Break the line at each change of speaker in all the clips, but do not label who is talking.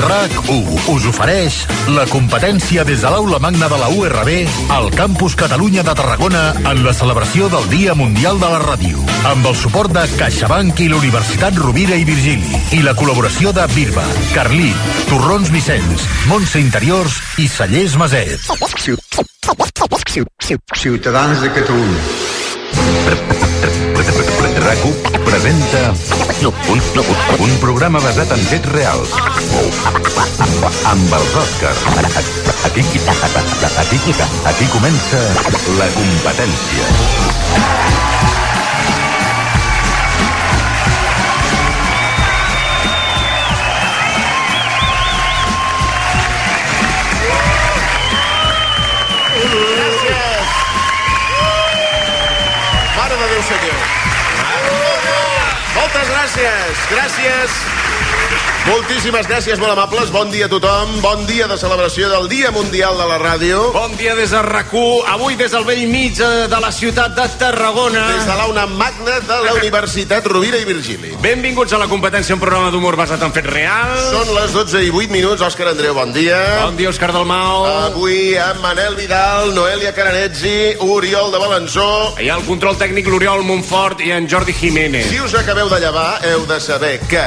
RAC1 us ofereix la competència des de l'aula magna de la URB al Campus Catalunya de Tarragona en la celebració del Dia Mundial de la Ràdio amb el suport de CaixaBank i la Universitat Rovira i Virgili i la col·laboració de Birba, Carlí, Torrons Vicenç, Montse Interiors i Sallés Maset.
Ciutadans de Catalunya.
RAC1 presenta un, un programa basat en fets reals amb els Oscars. Aquí, aquí, aquí comença la competència.
Gràcies. Mare de Déu, senyor. Moltes gràcies, gràcies. Moltíssimes gràcies, molt amables. Bon dia a tothom. Bon dia de celebració del Dia Mundial de la Ràdio.
Bon dia des de rac avui des del vell mig eh, de la ciutat de Tarragona.
Des de l'auna magna de la Universitat Rovira i Virgili.
Benvinguts a la competència, un programa d'humor basat en fets reals.
Són les 12 i 8 minuts. Òscar Andreu, bon dia.
Bon dia, Òscar Dalmau.
Avui amb Manel Vidal, Noelia Caranetzi, Oriol de Balançó,
Hi ha el control tècnic l'Oriol Montfort i en Jordi Jiménez.
Si us acabeu de llevar, heu de saber que...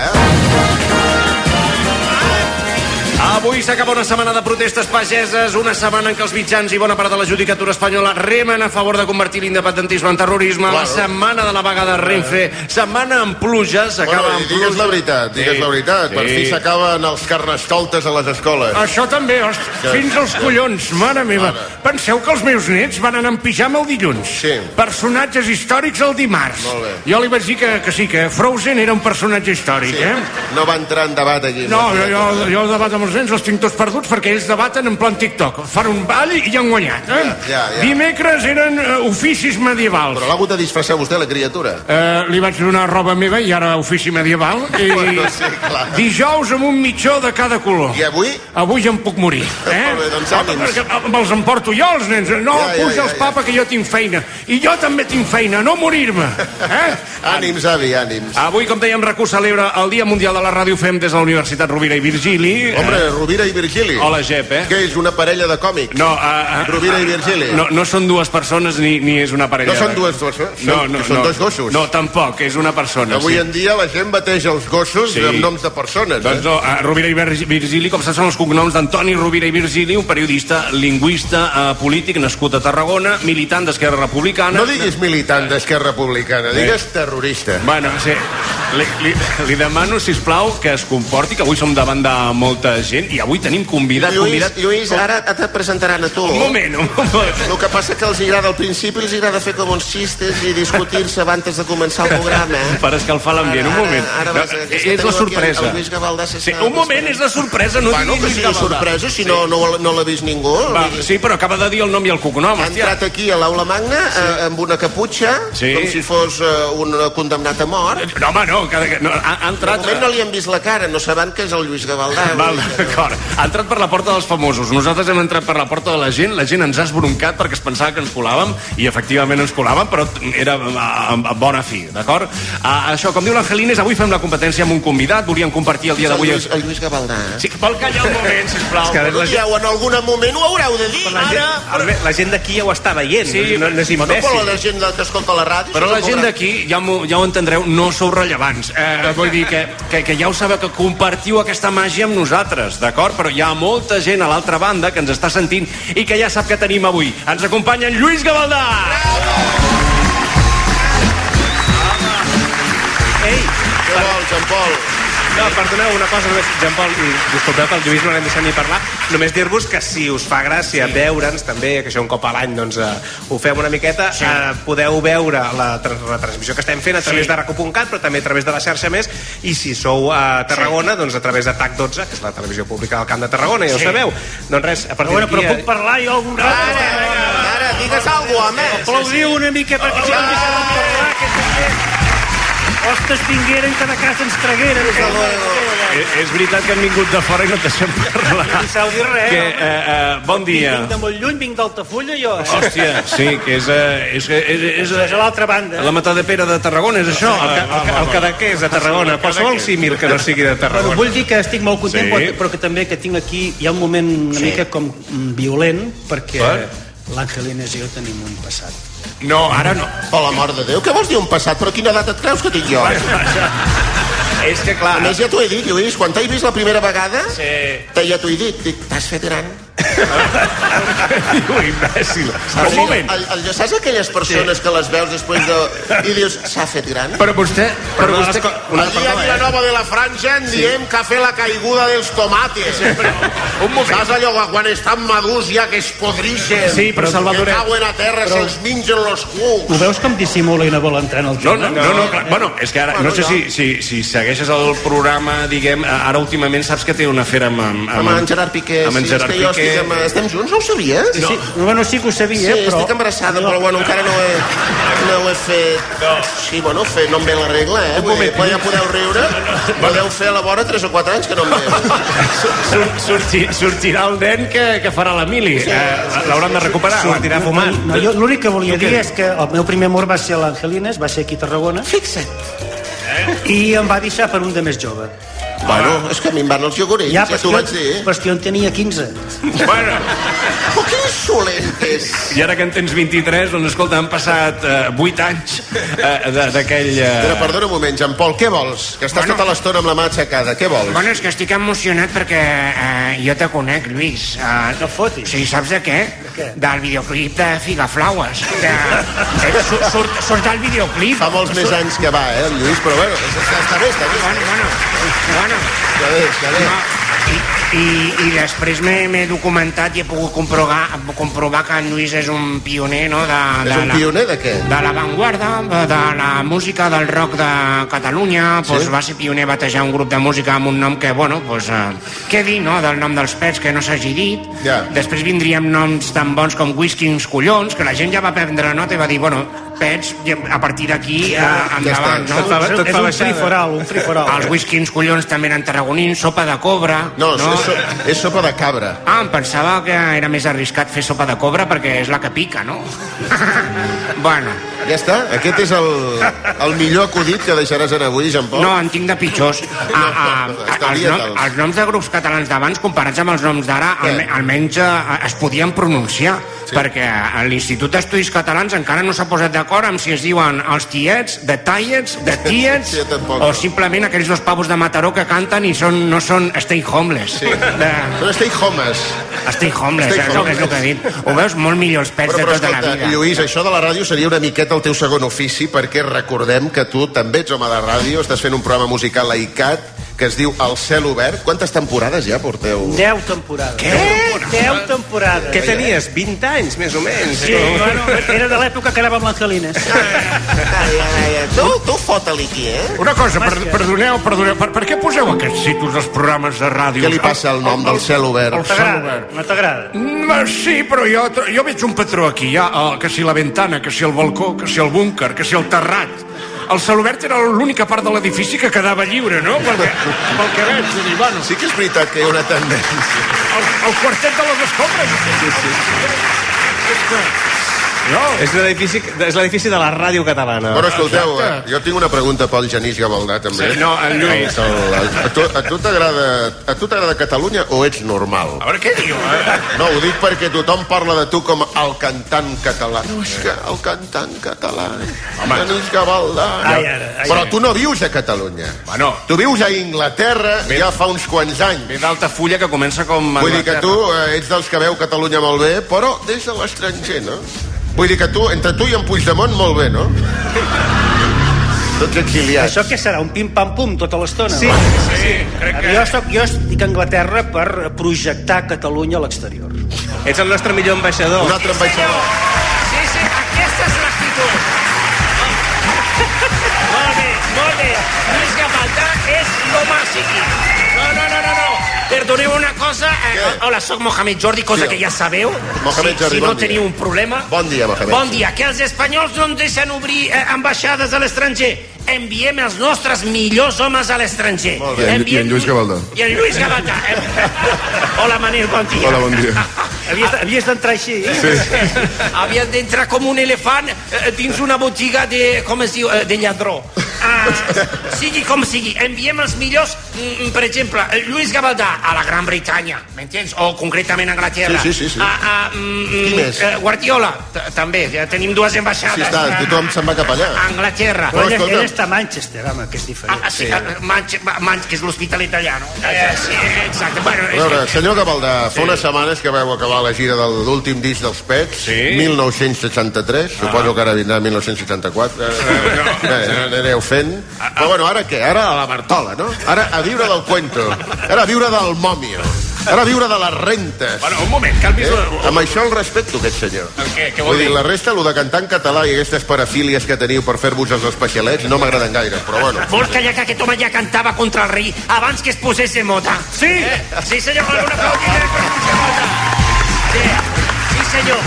Avui s'acaba una setmana de protestes pageses, una setmana en què els mitjans i bona part de la judicatura espanyola remen a favor de convertir l'independentisme en terrorisme, la setmana de la vaga de Renfe, setmana amb pluges, s'acaba
Bueno,
amb
i digues
pluges...
la veritat, digues
Sí,
la veritat. Per
sí.
fi s'acaben els carnestoltes a les escoles.
Això també, host, fins als collons, mare meva. Penseu que els meus nets van anar en pijama el dilluns.
Sí.
Personatges històrics el dimarts.
Molt bé.
Jo li vaig dir que, que sí, que Frozen era un personatge històric,
Sí.
eh?
No va entrar en debat aquí.
No, jo, jo, jo
eh?
el debat amb els nens els tinc tots perduts perquè ells debaten en plan TikTok. Fan un ball i ja han guanyat. Eh?
Ja, ja, ja.
Dimecres eren eh, oficis medievals.
Però l'ha hagut de disfressar vostè, la criatura.
Eh, li vaig donar roba meva i ara ofici medieval. I
Bueno, sí, clar.
dijous amb un mitjó de cada color.
I avui?
Avui ja em puc morir. Eh?
Molt bé, doncs
Home,
ànims.
perquè
eh,
me'ls emporto jo, els nens. No,
Ja, ja,
puja
ja,
els
ja.
papa, que jo tinc feina. I jo també tinc feina, no morir-me. Eh?
Ànims, avi, ànims.
Avui, com dèiem, RAC1 celebra el Dia Mundial de la Ràdio Fem des de la Universitat Rovira i Virgili. eh?
Hombre, Rovira i Virgili.
Hola, Jep, eh?
Què és, una parella de còmics?
No, a, a,
Rovira i Virgili.
Ah. No, no són dues persones ni, ni és una parella. eh?
No són dues persones, són- són dos gossos.
No, tampoc, és una persona.
Avui
sí.
en dia la gent bateja els gossos
Sí.
amb noms de persones.
Doncs
Eh?
no, a Rovira i Vir- Virgili, com saps, són els cognoms d'Antoni Rovira i Virgili, un periodista, lingüista, eh, polític nascut a Tarragona, militant d'Esquerra Republicana.
No diguis militant d'Esquerra Republicana, digues terrorista.
Bueno, sí. Li, li, li demano, si plau, que es comporti, que avui som davant de molta gent i avui tenim convidat, convidat...
Lluís, ara et presentaran a tu.
Un moment, un moment.
El que passa que els agrada al principi, els agrada fer com uns xistes i discutir-se abans de començar el programa, eh?
Per escalfar l'ambient, un
Ara-
moment.
Ara, ara vas,
No, eh,
que
és la
teniu aquí
sorpresa.
El Lluís Gavaldà s'està-
Sí, un moment, és la sorpresa, no
Bueno,
diguis
que
Lluís
Sí,
Gavaldà.
sorpresa, si no, no, no l'ha vist ningú.
Va, sí, però acaba de dir el nom i el cognom,
Ha
hòstia.
entrat aquí a l'aula magna eh, amb una caputxa,
Sí.
com si fos eh, un condemnat a mort.
No, home, no, que, que, no ha, ha
De
entrat...
moment no li han vist la cara, no saben que és el Lluís Gavaldà.
Val, d'acord. Ha entrat per la porta dels famosos. Nosaltres hem entrat per la porta de la gent. La gent ens ha esbroncat perquè es pensava que ens colàvem i efectivament ens colàvem, però era a, a bona fi, d'acord? Ah, això, com diu l'Angelines, avui fem la competència amb un convidat. Volíem compartir el dia
Doncs El
d'avui...
Lluís, el Lluís Gavaldà. eh?
Sí, vol callar un moment, sisplau.
És que la gent,
Dieu, en algun moment ho haureu de dir,
la
ara.
gent, Albert, la gent d'aquí ja ho està veient,
Sí.
no, no és
No
imbècil.
volen la gent que escolta la ràdio.
Però
això
la
no
gent
volen.
d'aquí, ja, m'ho- ja ho entendreu, no sou rellevants. Eh, vull dir que, que, que ja ho sabeu, que compartiu aquesta màgia amb nosaltres, d'acord? Però hi ha molta gent a l'altra banda que ens està sentint i que ja sap que tenim avui. Ens acompanya en Lluís Gavaldà!
Què vols, en Pol?
No, perdoneu una cosa, només, Jean Paul, i disculpeu que el Lluís no l'hem deixat ni parlar, només dir-vos que si us fa gràcia sí. veure'ns també, que això un cop a l'any doncs, uh, ho fem una miqueta, sí. uh, podeu veure la tra- retransmissió que estem fent a través sí. de raco.cat, però també a través de la xarxa més, i si sou a Tarragona, sí. doncs a través de TAC12, que és la televisió pública del Camp de Tarragona, ja sí. ho sabeu. Doncs res, a partir
Bueno, però
d'aquí...
puc parlar jo algun rato?
Ara, ara, digues alguna cosa, home.
Aplaudiu una mica perquè si no ens deixaran parlar, que també... Hostes, vingueren que de casa ens tragueren.
Hasta luego.
Eh, és, és veritat que han vingut de fora i no et deixem parlar.
No sabeu dir res,
Que,
home.
eh, eh, bon dia.
Vinc de molt lluny, vinc d'Altafulla, jo. Eh?
Hòstia, sí, que és... eh, és, és, és,
És a l'altra banda.
la matà de Pere de Tarragona, és això?
El, ca, el, ca- el cadaqués de Tarragona. Qualsevol símil que no sigui de
Però
Tarragona.
vull dir que estic molt content,
Sí.
sí. però que també que tinc aquí... Hi ha un moment una sí. mica com mm, violent, perquè per? l'Angelines i jo tenim un passat.
No, ara no.
Per l'amor de Déu, què vols dir un passat? Però quina edat et creus que tinc jo?
Ah,
És que, clar...
A més, ja t'ho he dit, Lluís, quan t'he vist la primera vegada, sí. ja t'ho he dit, dic, t'has fet gran.
Diu, imbècil.
O
Un
sigui,
moment.
El, el, saps aquelles persones sí. que les veus després de... I dius, s'ha fet gran?
Però vostè... Però vostè...
Allí a
eh?
Vilanova de la Franja en diem que ha fet la caiguda dels tomates. Un moment. Saps allò que quan estan madurs ja que es podrixen?
Sí, però, Salvadoret-
Que cauen a terra, però... se'ls mengen los
Ho
cucs.
veus com dissimula i no vol entrar en el
No,
joc?
no, no, no, clar. Bueno, és que ara, no sé si, si, si segueixes el programa, diguem, ara últimament saps que té una fera amb... Amb,
Amb en Gerard Piqué,
Amb en Gerard
sí, és que jo
Piqué.
estic amb... Estem junts, no ho sabies?
Sí, bueno, sí que ho
Sí,
sabia,
eh,
però...
estic embarassada, però bueno, encara no he, no ho he fet... No. Sí, bueno, fer, no em ve la regla, eh? Vull dir, quan ja podeu riure, podeu fer a la vora 3 o 4 anys que no em ve.
Sur, sortir, sortirà el nen que, que farà l'Emili. Sí, eh, L'hauran de recuperar.
Sortirà fumant.
No, jo l'únic que volia dir és que el meu primer amor va ser l'Angelines, va ser aquí a Tarragona,
Fixa't.
i em va deixar per un de més jove.
Bueno, és que a mi em van els iogurins, ja, ja t'ho vaig dir.
però és que jo en tenia 15.
Bueno,
Però que insolent que és!
I ara que en tens 23, doncs escolta, han passat eh, 8 anys eh, de- d'aquell...
Però
Eh...
perdona un moment, Jean Paul, què vols? Que estàs
Bueno.
tota l'estona amb la mà aixecada, què vols?
Bueno, és que estic emocionat perquè eh, jo te conec, Lluís. Eh,
No fotis.
Sí, saps de què?
què?
Del videoclip de Figaflaues. De... Eh, surt, surt, surt del videoclip.
Fa molts més anys que va, eh, el Lluís, però bueno, està, està bé, està bé,
Bueno, bueno, bueno.
està bé, està bé.
No, i, i, i després m'he m'he documentat i he pogut comprovar, comprovar que en Lluís és un pioner, no? De, de
És un
la-
pioner de què?
de l'avantguarda, de, de la música del rock de Catalunya, doncs va ser pioner a batejar un grup de música amb un nom que, bueno, doncs, eh, què dir, no?, del nom dels pets que no s'hagi dit.
Ja.
Després vindríem noms tan bons com Whisky uns collons, que la gent ja va prendre nota i va dir, bueno, pets, i a partir d'aquí eh, endavant,
està.
no?
Tot fa- tot
és
fa
un
baixada.
friforal, un friforal.
Els whisky uns collons també eren tarragonins, sopa de cobra...
No, és, és, so- és sopa de cabra.
Ah, em pensava que era més arriscat fer sopa de cobra perquè és la que pica, no? bueno,
Ja està? Aquest és el, el millor acudit que deixaràs en avui, Jean Paul?
No, en tinc de pitjors. A, a, a, Ah, els, nom,
estalvia'te'ls.
els noms de grups catalans d'abans, comparats amb els noms d'ara,
Què?
alme, almenys eh, es podien pronunciar, sí. perquè a l'Institut d'Estudis Catalans encara no s'ha posat d'acord amb si es diuen els tiets, de tallets, de tiets,
Sí, jo tampoc.
o simplement aquells dos pavos de Mataró que canten i són, no són stay homeless. Sí. De,
Són stay homes. Stay
stay homeless, stay és, homeless.
homeless.
és el que he dit. Ho veus molt millor els pets
Però, però
de tota la
escolta,
vida.
Lluís, això de la ràdio seria una miqueta el teu segon ofici perquè recordem que tu també ets home de ràdio, estàs fent un programa musical a ICAT que es diu El cel obert. Quantes temporades ja porteu?
10 temporades.
Eh?
Què? 10 temporades.
Què tenies? 20 anys, més o menys.
Sí, bueno, era de l'època que anava amb l'Angelines.
Ah, Ai, ai, ai. Tu, tu fota-li aquí, eh?
Una cosa, per, perdoneu, perdoneu, per, per què poseu aquests títols als programes de ràdio?
Què li passa al nom del cel obert?
T'agrada? No t'agrada?
Mm, Sí, però jo, tro- jo veig un patró aquí. Hi ha eh, que si la ventana, que si el balcó, que si el búnquer, que si el terrat. El celobert era l'única part de l'edifici que quedava lliure, no? Perquè, pel que veig, vull dir, bueno,
Sí que és veritat que hi ha una tendència.
el, el quartet de les escombres. Sí, sí. No,
És l'edifici és l'edifici de la ràdio catalana.
Però escolteu, eh, jo tinc una pregunta pel Genís Gavaldà, també.
Sí, no, en Lluís.
El, el, a tu- a tu t'agrada a tu t'agrada Catalunya o ets normal?
A veure què diu, eh?
No, ho dic perquè tothom parla de tu com el cantant català. No, és que el cantant català... Home. Genís Gavaldà...
Ai, ara, ai,
Però tu no vius a Catalunya.
Bueno.
Tu vius a Inglaterra ja fa uns quants anys.
Ve d'Altafulla que comença com...
Vull dir que
Anglaterra.
tu eh, ets dels que veu Catalunya molt bé, però des de l'estranger, no? Vull dir que tu, entre tu i en Puigdemont, molt bé, no? Tots exiliats.
Això què serà? Un pim-pam-pum tota l'estona?
Sí, sí, sí. Crec que...
Jo, soc, jo estic a Anglaterra per projectar Catalunya a l'exterior.
Ets el nostre millor ambaixador.
Un altre ambaixador.
Sí, sí, aquesta és l'actitud.
Molt bé, molt bé. Lluís Gavaldà és l'home sigui.
No, no, no, no, no. Perdoneu una cosa. Eh,
Què?
hola, sóc Mohamed Jordi, cosa
Sí.
que ja sabeu.
Mohamed
si,
Jordi,
si
bon
no
dia.
teniu un problema...
Bon dia, Mohamed.
Bon dia. Que els espanyols no en deixen obrir eh, ambaixades a l'estranger.
enviem els nostres millors homes a l'estranger.
Molt bé. I en-
Enviem-
i en Lluís Gavaldà.
I en Lluís Gavaldà. Hola, Manel, bon dia.
Hola, bon dia.
Havies, havies d'entrar així.
Sí.
Havia d'entrar com un elefant eh, dins una botiga de, com es diu, eh, de lladró. Ah, sigui com sigui, enviem els millors, mm, per exemple, eh, Lluís Gavaldà a la Gran Bretanya, m'entens? O concretament a Anglaterra.
Sí, sí, sí, sí.
Ah, ah, mm,
Qui més?
eh, Guardiola, t- també, ja tenim dues
Sí,
ambaixades.
està, tothom se'n va cap allà.
A Anglaterra.
Però,
ell,
escolta'm.
ell està a Manchester, home, que és diferent.
Ah, sí, eh, Manx, Manx, que és l'hospital italià, no? Eh, sí, exacte. Bueno,
A
és
veure,
que-
senyor Gavaldà, fa unes setmanes que vau acabar la gira de l'últim disc dels Pets, sí? 1963, suposo que ara vindrà 1964, eh, eh, aneu fent. Però bueno, ara què? Ara a la Bartola, no? Ara a viure del cuento, ara a viure del mòmio, ara a viure de les rentes.
Bueno, un moment, que el
Eh?
vist... Eh?
Amb això el respecto, aquest senyor.
Què, què vol
Vull dir,
dir?
la resta, el de cantar en català i aquestes parafílies que teniu per fer-vos els especialets no m'agraden gaire, però bueno.
Vols que ja que aquest home ja cantava contra el rei abans que es posés de moda? Sí! Eh? Sí, senyor, vol una aplaudida per posar moda. Sí, sí, senyor.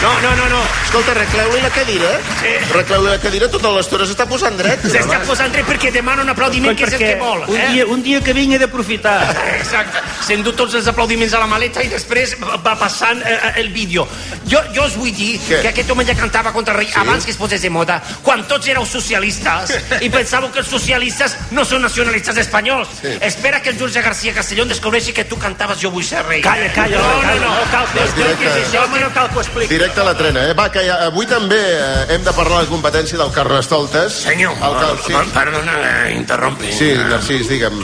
No, no, no, no.
Escolta, recleu-li la cadira.
Sí.
Recleu-li la cadira, tota l'estona s'està posant dret.
S'està posant res perquè demana un aplaudiment, que és el que vol.
un,
Eh?
dia, un dia que vinc he d'aprofitar.
Exacte. S'endú tots els aplaudiments a la maleta i després va passant eh, eh, el vídeo. Jo, jo us vull dir
Què?
que aquest home ja cantava contra el rei abans que es posés de moda, quan tots éreu socialistes i pensàveu que els socialistes no són nacionalistes espanyols. Espera que el Jorge García Castellón descobreixi que tu cantaves Jo vull ser rei.
Calla, calla,
No,
home,
no,
calla,
no.
no cal que ho expliquis,
Directe.
això, home, no cal que ho expliquis.
Directe a la trena, eh? Va, que ja, avui també eh, hem de parlar de la competència del Carnestoltes.
Senyor,
El cal, sí.
per- perdona, eh, interrompi.
sí, Narcís, digue'm.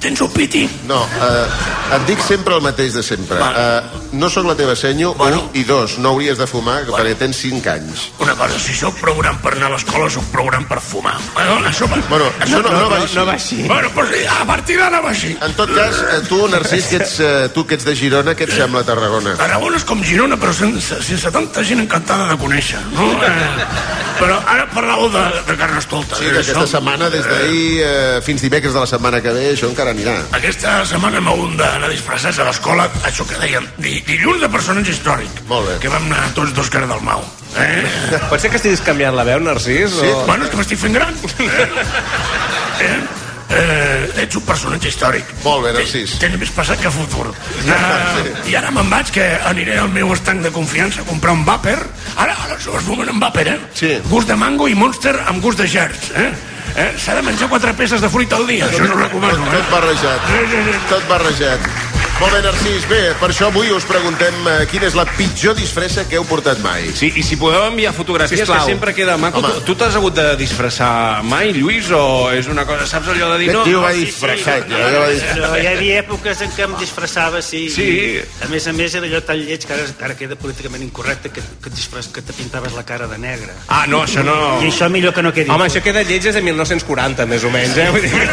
Tens un piti?
No, eh, et dic sempre el mateix de sempre. Eh, no sóc la teva senyo,
Bueno.
un i dos. No hauries de fumar, que perquè tens cinc anys.
Una cosa, si sóc program per anar a l'escola, sóc program per fumar. Bueno, això va...
Bueno, això no, no, va així.
va així.
Bueno, pues a partir d'ara va així.
En tot cas, eh, tu, Narcís, que ets, eh, tu que ets de Girona, què et sembla Tarragona?
Tarragona és com Girona, però sense, sense tanta gent encantada de conèixer, no? Eh, però ara parlàveu de, de Carnestoltes.
Sí, que aquesta setmana, des d'ahir eh, fins dimecres de la setmana que ve, això encara anirà.
Aquesta setmana hem hagut d'anar disfressats a l'escola, això que dèiem, di, dilluns de personatge històric.
Molt bé.
Que vam anar tots dos cara del mau. Eh?
Pot ser que estiguis canviant la veu, Narcís?
Sí.
O...
bueno, és que m'estic fent gran. Eh? Eh? Eh, ets un personatge històric.
Molt bé, Narcís.
Tens més passat que futur. Uh,
Sí.
I ara me'n vaig, que aniré al meu estanc de confiança a comprar un vàper. Ara, ara se les fumen amb vàper, eh?
Sí.
Gust de mango i monster amb gust de gerds, eh? eh? S'ha de menjar quatre peces de fruita al dia, això no ho
Tot,
recomano,
tot
eh?
barrejat.
Sí, sí, sí.
Tot barrejat. Molt bé, Narcís. Bé, per això avui us preguntem eh, quina és la pitjor disfressa que heu portat mai.
Sí, i si podeu enviar fotografies,
Sisplau.
que sempre queda maco.
Home.
Tu- Tu t'has hagut de disfressar mai, Lluís, o és una cosa... Saps allò de dir...
Aquest
No,
tio va
sí, sí,
disfressat.
no,
ja, ja va dir-
No, hi havia èpoques en què em disfressava, sí.
Sí.
A més a més, era allò tan lleig que ara, ara queda políticament incorrecte que, que, et disfress, que te pintaves la cara de negre.
Ah, no, això no...
I això millor que no quedi.
Home, això queda lleig des de 1940, més o menys, eh? Vull dir...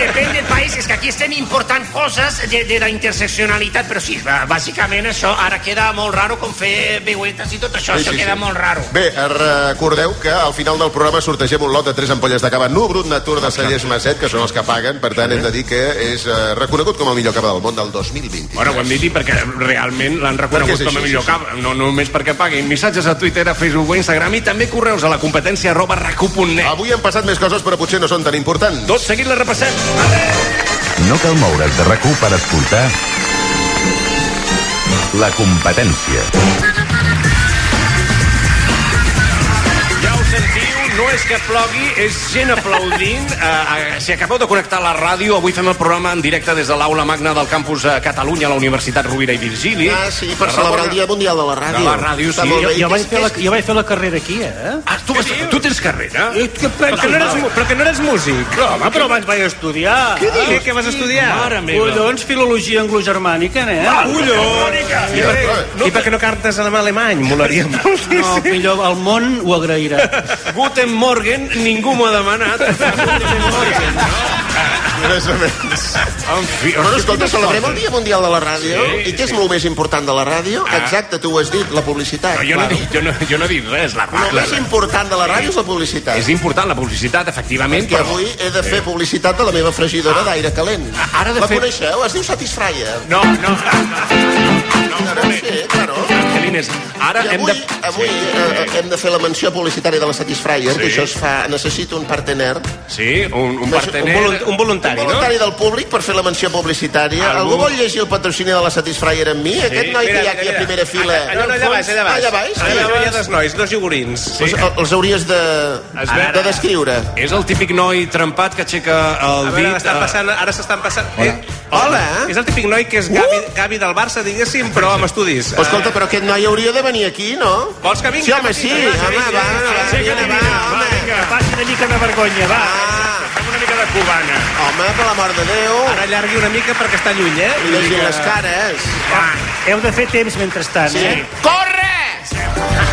Depèn del país, és que aquí estem important coses de, de la interseccionalitat, però sí, bà- bàsicament això ara queda molt raro com fer veuetes i tot això,
Sí,
això
sí,
queda
sí.
molt raro.
Bé, eh, recordeu que al final del programa sortegem un lot de tres ampolles de cava no brut natur de Cellers Maset, que són els que paguen, per tant hem de dir que és eh, reconegut com el millor cava del món del 2020.
Bueno, ho hem dit i perquè realment l'han reconegut
Perquè és
com a
així,
millor
sí,
cap. No, no només perquè paguin. Missatges a Twitter, a Facebook, a Instagram i també correus a la competència arroba recu.net.
Avui han passat més coses, però potser no són tan importants.
Tot seguit la repassem.
No cal moure's de rac per escoltar la competència.
Ja ho sentiu, no és que plogui, és gent aplaudint. Uh, si acabeu de connectar la ràdio, avui fem el programa en directe des de l'aula magna del campus a Catalunya, a la Universitat Rovira i Virgili.
Ah, sí, per celebrar el Dia Mundial de la Ràdio.
De la ràdio,
Està
sí.
molt
jo,
bé.
jo, vaig
És-
fer la,
és-
jo vaig fer la carrera aquí, eh?
Ah, tu, vas, tu tens carrera?
I què
Però que no eres, mu- però que no eres músic.
Però, home, Ah, però abans vaig estudiar. Ah, Què
dius? Què- què vas estudiar?
Mare meva. Collons, filologia anglogermànica, nen.
Ah,
I, I per què no cantes en alemany? Molaria molt.
No, millor, el món ho agrairà.
Guten Morgen, ningú m'ho ha demanat.
Ah, Res més.
en fi,
Bueno, escolta, celebrem
eh?
el Dia Mundial de la Ràdio i què és el més important de la ràdio? Exacte, tu ho has dit, la publicitat.
Ah. No, jo, no, he
Claro.
dit- jo, no, jo no he dit res, la
El
ràdio.
més important de la ràdio és la publicitat.
És important la publicitat, efectivament,
que
però...
avui he de fer publicitat de la meva fregidora d'aire calent.
Ah, ara de
la
fer-
coneixeu? Es diu Satisfyer.
No, no, no, no, no, no, no, no, no, no, no, no,
Sí, claro.
no, diners. Ara
I
hem
avui,
de...
avui eh, hem de fer la menció publicitària de la Satisfyer, sí. que això es fa... Necessito un partener.
Sí, un, un
No sé,
partener...
un volun-
Un voluntari,
un
no?
voluntari del públic per fer la menció publicitària. Algú,
Algú
Algú vol llegir el patrocini de la Satisfyer amb mi? Sí. Aquest noi que hi ha aquí a primera fila...
Allà, Ah, no, no, allà baix, allà baix.
ah, Allà baix?
Allà
Allà
baix. hi
baix.
ha dos nois, dos jogurins.
Els, els hauries de,
Es veu-
de descriure.
És el típic noi trempat que aixeca el
A veure,
dit...
estan
eh,
passant, ara s'estan passant... Hola. Eh, hola. És el típic noi que és Gavi, Gavi del Barça, diguéssim, però amb estudis. Eh,
Però Uh! escolta, però aquest noi hauria de venir aquí, no?
Vols que vingui?
Sí, home, sí.
Vinga,
Home,
vinga,
va,
vinga,
va,
aixeca la
vinga, va,
mina, va,
home.
Vinga, passi una mica de vergonya, va. Fem una mica de cubana.
Home, per l'amor de Déu.
Ara allargui una mica perquè està lluny, eh?
Li llegim les cares.
Ah, Heu de fer temps mentrestant,
Sí.
eh?
Corre!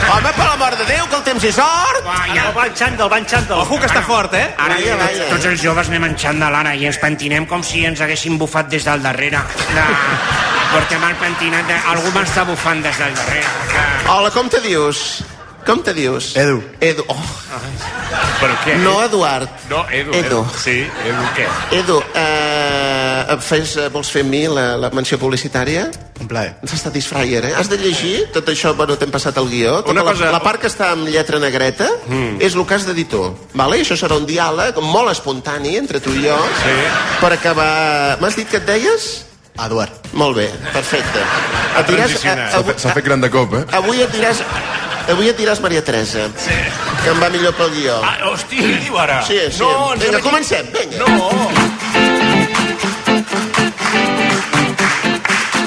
Home, per l'amor de Déu, que el temps és hort!
Ah, ja. El van xandall, van xandall.
Ojo, que està fort, eh?
Ara,
Ai,
ara,
tots, tots els joves anem en xandalana i ens pentinem com si ens haguessin bufat des del darrere. La... Portem el pentinat de... Algú m'està bufant des del darrere. La...
Hola, com te dius? Com te dius?
Edu.
Edu. Oh,
Però què?
no, Eduard.
No, Edu.
Edu.
Sí, Edu, què?
Edu, eh, em fes, eh, vols fer amb mi la, la menció publicitària?
Un plaer.
Ens està disfraier, eh? Has de llegir tot això, bueno, t'hem passat el guió. Tota
Una
la,
cosa-
la part que està amb lletra negreta mm. és el cas d'editor. Vale? Això serà un diàleg molt espontani entre tu i jo sí. per acabar... M'has dit que et deies?
Eduard.
Molt bé, perfecte. Et diràs, a,
transicionat.
a,
S'ha fet, s'ha fet gran de cop, eh?
avui et diràs... Avui et diràs Maria Teresa, sí. que em va millor pel guió.
Ah, hosti, què diu ara?
sí, sí.
No,
vinga,
no,
comencem, vinga.
no, no.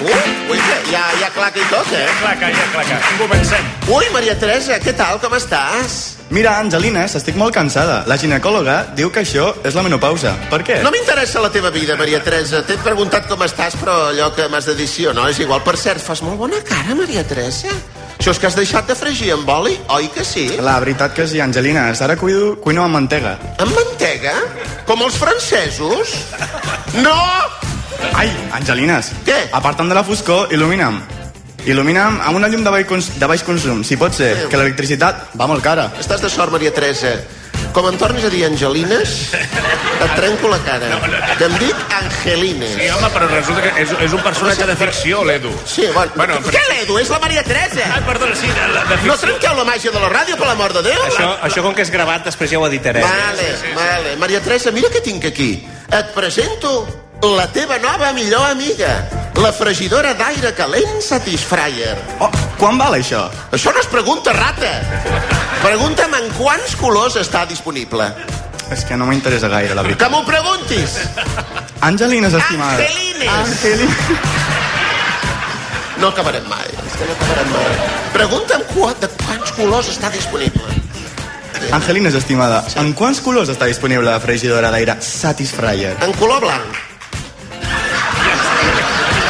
Uh, ui, que ja, ja claca i tot, eh?
Claca, ja, claca. Comencem.
Ui, Maria Teresa, què tal, com estàs?
Mira, Angelines, estic molt cansada. La ginecòloga diu que això és la menopausa. Per què?
No m'interessa la teva vida, Maria Teresa. T'he preguntat com estàs, però allò que m'has de dir sí o no és igual. Per cert, fas molt bona cara, Maria Teresa. Això és que has deixat de fregir amb oli, oi que sí?
La veritat que sí, Angelines. Ara cuido, cuino amb mantega.
Amb mantega? Com els francesos? No!
Ai, Angelines.
Què?
Aparta'm de la foscor, il·lumina'm. Il·lumina'm amb una llum de baix, cons de baix consum, si pot ser, que l'electricitat va molt cara.
Estàs de sort, Maria Teresa. Com em tornis a dir Angelines, et trenco la cara. Que em dic
Sí,
Angelines.
home, però resulta que és, és un personatge de ficció, l'Edu.
Sí, bueno.
Bueno, però-
Què l'Edu? És la Maria Teresa!
Ah, perdona, sí, de, de
No
ficció.
trenqueu la màgia de la ràdio, per l'amor de Déu!
Això, això com que és gravat, després ja ho editarem.
Vale, vale. Maria Teresa, mira què tinc aquí. Et presento la teva nova millor amiga, la fregidora d'aire calent Satisfyer.
Oh, quan val això?
Això no es pregunta, rata. Pregunta'm en quants colors està disponible.
És que no m'interessa gaire, la veritat.
Que m'ho preguntis.
Angelines, estimada.
Angelines.
Angelines.
No acabarem mai. És que no acabarem mai. Pregunta'm qua- de quants colors està disponible. eh?
Angelines, estimada. En quants colors està disponible la fregidora d'aire Satisfyer?
En color blanc.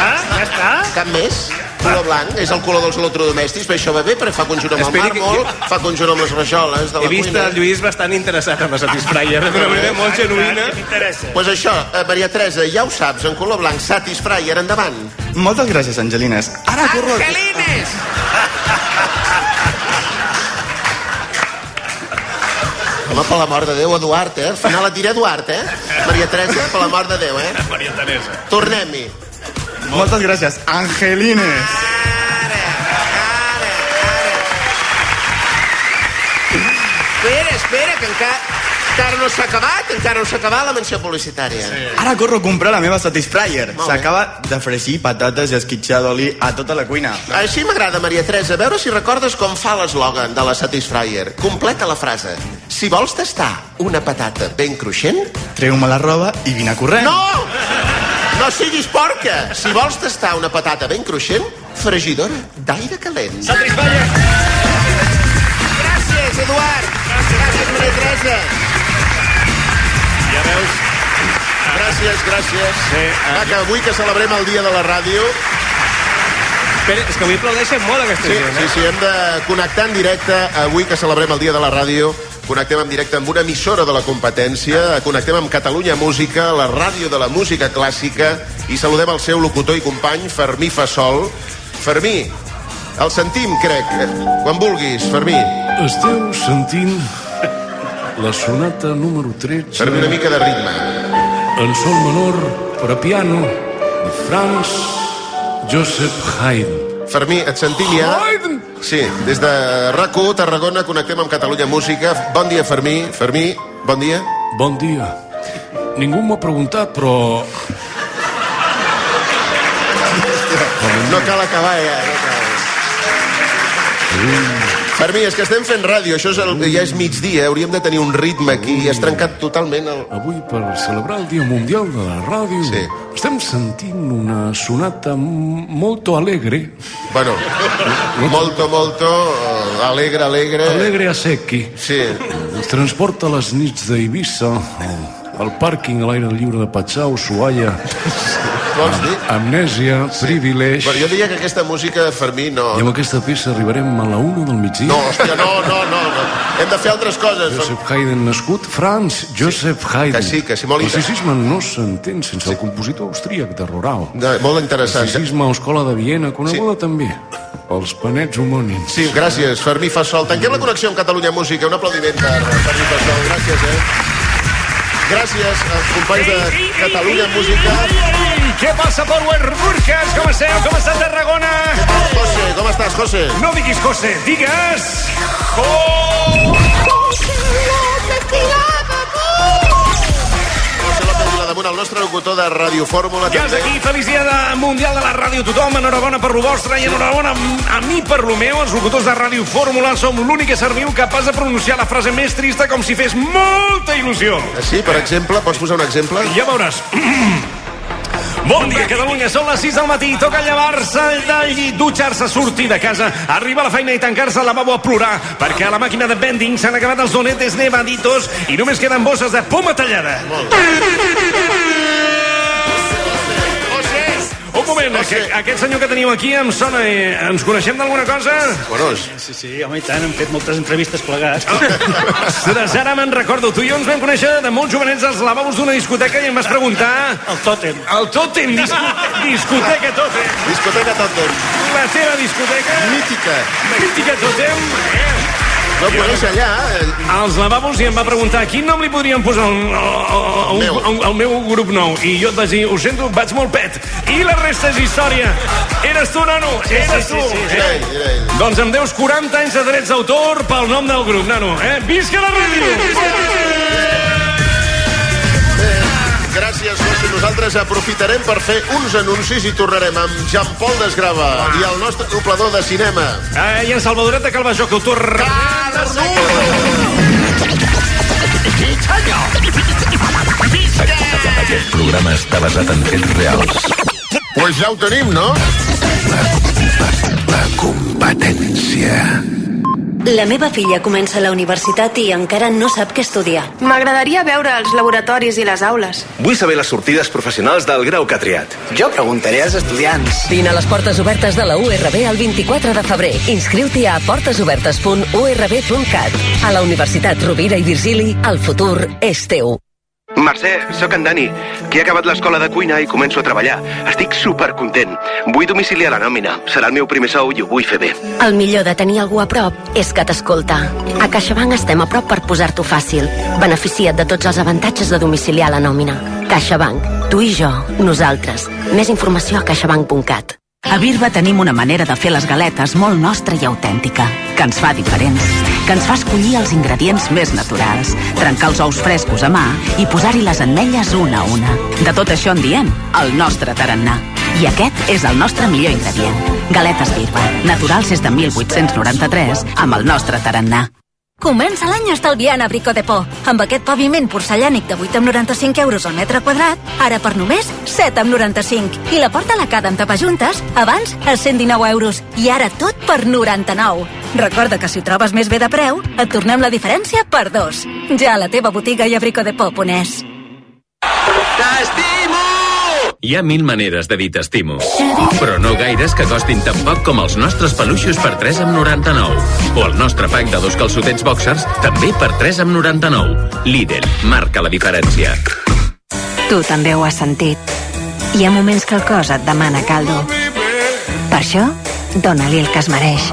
Ah, ja està? Cap més? Color blanc, és el color dels electrodomèstics, però això va bé perquè fa conjunt amb el
Esperi que-
màrmol, fa conjunt amb les rajoles de
He
la
vist
cuina.
el Lluís bastant interessat en la Satisfyer, d'una manera molt genuïna.
M'interessa.
Pues això, eh, Maria Teresa, ja ho saps, en color blanc, Satisfyer, endavant.
Moltes gràcies, Angelines. Ara corro...
Angelines! Home, per la mort de Déu, Eduard, eh? Al final et diré Eduard, eh? Maria Teresa, per la mort de Déu, eh?
Maria Teresa.
Tornem-hi.
Moltes gràcies, Angelines.
Ara, ara, ara. Espera, espera, que encara, encara no s'ha acabat, encara no s'ha acabat la menció publicitària. Sí.
Ara corro a comprar la meva Satisfyer.
Molt bé.
S'acaba de fregir patates i esquitxar d'oli a tota la cuina.
Així m'agrada, Maria Teresa, a veure si recordes com fa l'eslògan de la Satisfyer. Completa la frase. Si vols tastar una patata ben cruixent...
Treu-me la roba i vine corrent.
No! No siguis porca! Si vols tastar una patata ben cruixent, fregidora d'aire calent.
Satisfyer.
Gràcies, Eduard! Gràcies, Maria Teresa!
Ja veus,
Gràcies, gràcies.
Sí, eh,
Va, que avui que celebrem el Dia de la Ràdio,
Espera, és que avui aplaudeixen molt aquesta
sí,
gent,
sí,
eh?
sí, hem de connectar en directe, avui que celebrem el Dia de la Ràdio, connectem en directe amb una emissora de la competència, connectem amb Catalunya Música, la ràdio de la música clàssica, i saludem el seu locutor i company, Fermí Fassol. Fermí, el sentim, crec, quan vulguis, Fermí.
Esteu sentint la sonata número 13
Fermí, una mica de ritme.
en sol menor per a piano de Franz Joseph Haydn.
Fermí, et sentim ja.
Haydn!
Sí, des de rac Tarragona, connectem amb Catalunya Música. Bon dia, Fermí. Fermí, bon dia.
Bon dia. Ningú m'ho ha preguntat, però...
No cal acabar, ja. No cal. Fermí, és que estem fent ràdio, això és el, ja és migdia, hauríem de tenir un ritme aquí, has trencat totalment el...
Avui, per celebrar el Dia Mundial de la Ràdio, sí. estem sentint una sonata m- molto alegre.
Bueno, molto, molto, eh, alegre, alegre...
Alegre a secchi.
Sí.
Ens transporta a les nits d'Eivissa, al- al pàrquing a l'aire lliure de Patxau, Suaia,
Vols dir?
Amnèsia, Privilege...
Bueno, jo diria que aquesta música, Fermí, no...
I amb aquesta peça arribarem a la una del migdia.
No, hòstia, no, no, no, no. Hem de fer altres coses. Fermí.
Joseph Haydn, nascut Franz Joseph Haydn.
Que sí, que sí, molt
El
inter-
sisisme no s'entén sense sí. el compositor austríac de Rorau.
No, molt interessant.
El sisisme a Escola de Viena, coneguda sí. també. Els panets homònims.
Sí, gràcies, Fermí Fassol. Tanquem la connexió amb Catalunya Música. Un aplaudiment per Fermí Fassol. Gràcies, eh? Gràcies als companys de Catalunya Música.
Què passa, Power Burkes? Com esteu? Com està Tarragona?
José, com estàs, José?
No diguis José, digues...
José López Vilademunt, el nostre locutor de Radio Fórmula.
Ja és
també.
aquí, feliç dia de Mundial de la Ràdio a tothom, enhorabona per lo vostre i enhorabona a mi per lo meu. Els locutors de Ràdio Fórmula som l'únic que serviu capaç de pronunciar la frase més trista com si fes molta il·lusió.
Sí, per exemple, pots posar un exemple?
Ja veuràs. Bon dia, Catalunya. Són les 6 del matí. Toca llevar-se del llit, dutxar-se, sortir de casa, arribar a la feina i tancar-se al lavabo a plorar, perquè a la màquina de vending s'han acabat els donetes nevaditos i només queden bosses de poma tallada. Un moment, aquest, aquest senyor que teniu aquí em sona... Eh, ens coneixem d'alguna cosa?
Bueno,
Sí, sí, home, i tant, hem fet moltes entrevistes plegats.
Ostres, ara me'n recordo. Tu i jo ens vam conèixer de molt jovenets als lavabos d'una discoteca i em vas preguntar...
El tòtem.
El tòtem, discoteca, discoteca tòtem.
Discoteca Tòtem.
La teva discoteca,
Mítica.
mítica tòtem,
No coneix allà. eh?
als lavabos i em va preguntar quin nom li podríem posar al, al, al, al, al meu grup nou. I jo et vaig dir, ho sento, vaig molt pet. I la resta és història. Eres tu, nano, eres tu.
Era ell, era ell.
Doncs em deus 40 anys de drets d'autor pel nom del grup, nano. Eh? Visca la ràdio!
Gràcies, José. Nosaltres aprofitarem per fer uns anuncis i tornarem amb Jean-Paul Desgrava i el nostre doblador de cinema.
Ah, I en Salvadoret de Calvajó, que ho torna...
Aquest programa està basat en fets reals.
Pues ja ho tenim, no?
La competència.
La meva filla comença la universitat i encara no sap què estudiar.
M'agradaria veure els laboratoris i les aules.
Vull saber les sortides professionals del grau que ha triat.
Jo preguntaré als estudiants.
Vine a les portes obertes de la URB el 24 de febrer. Inscriu-t'hi a portesobertes.urb.cat. A la Universitat Rovira i Virgili, el futur és teu.
Mercè, sóc en Dani, que he acabat l'escola de cuina i començo a treballar. Estic supercontent. Vull domiciliar la nòmina. Serà el meu primer sou i ho vull fer bé.
El millor de tenir algú a prop és que t'escolta. A CaixaBank estem a prop per posar-t'ho fàcil. Beneficia't de tots els avantatges de domiciliar la nòmina. CaixaBank. Tu i jo. Nosaltres. Més informació a caixabank.cat.
A Birba tenim una manera de fer les galetes molt nostra i autèntica, que ens fa diferents, que ens fa escollir els ingredients més naturals, trencar els ous frescos a mà i posar-hi les ametlles una a una. De tot això en diem el nostre tarannà. I aquest és el nostre millor ingredient. Galetes Birba, naturals des de 1893, amb el nostre tarannà.
Comença l'any estalviant a Brico de Po. Amb aquest paviment porcellànic de 8 amb 95 euros al metre quadrat, ara per només 7 amb 95. I la porta lacada amb tapajuntes, abans a 119 euros. I ara tot per 99. Recorda que si ho trobes més bé de preu, et tornem la diferència per dos. Ja a la teva botiga i a Brico de Po, ponés.
Hi ha mil maneres de dir t'estimo, però no gaires que costin tan poc com els nostres peluixos per 3 amb 99. O el nostre pack de dos calçotets boxers també per 3 amb 99. Lidl, marca la diferència.
Tu també ho has sentit. Hi ha moments que el cos et demana caldo. Per això, dona-li el que es mereix.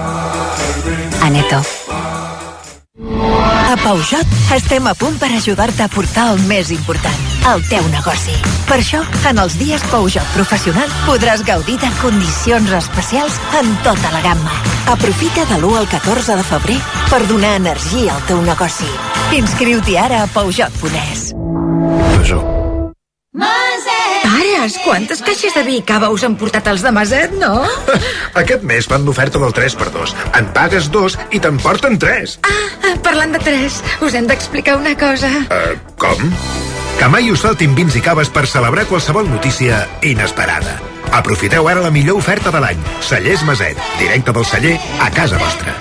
Aneto.
A Peugeot estem a punt per ajudar-te a portar el més important.
el teu negoci. Per això, en els dies Pou Joc Professional podràs gaudir de condicions especials en tota la gamma. Aprofita de l'1 al 14 de febrer per donar energia al teu negoci. Inscriu-t'hi ara a Peugeot.es.
Peugeot.
Pares, quantes caixes de vi i cava us han portat els de Maset, no?
Aquest mes fan l'oferta del 3x2. En pagues dos i te'n porten tres.
Ah, parlant de tres, us hem d'explicar una cosa.
Uh, com? Que mai us faltin vins i caves per celebrar qualsevol notícia inesperada. Aprofiteu ara la millor oferta de l'any. Cellers Maset, directe del celler a casa vostra.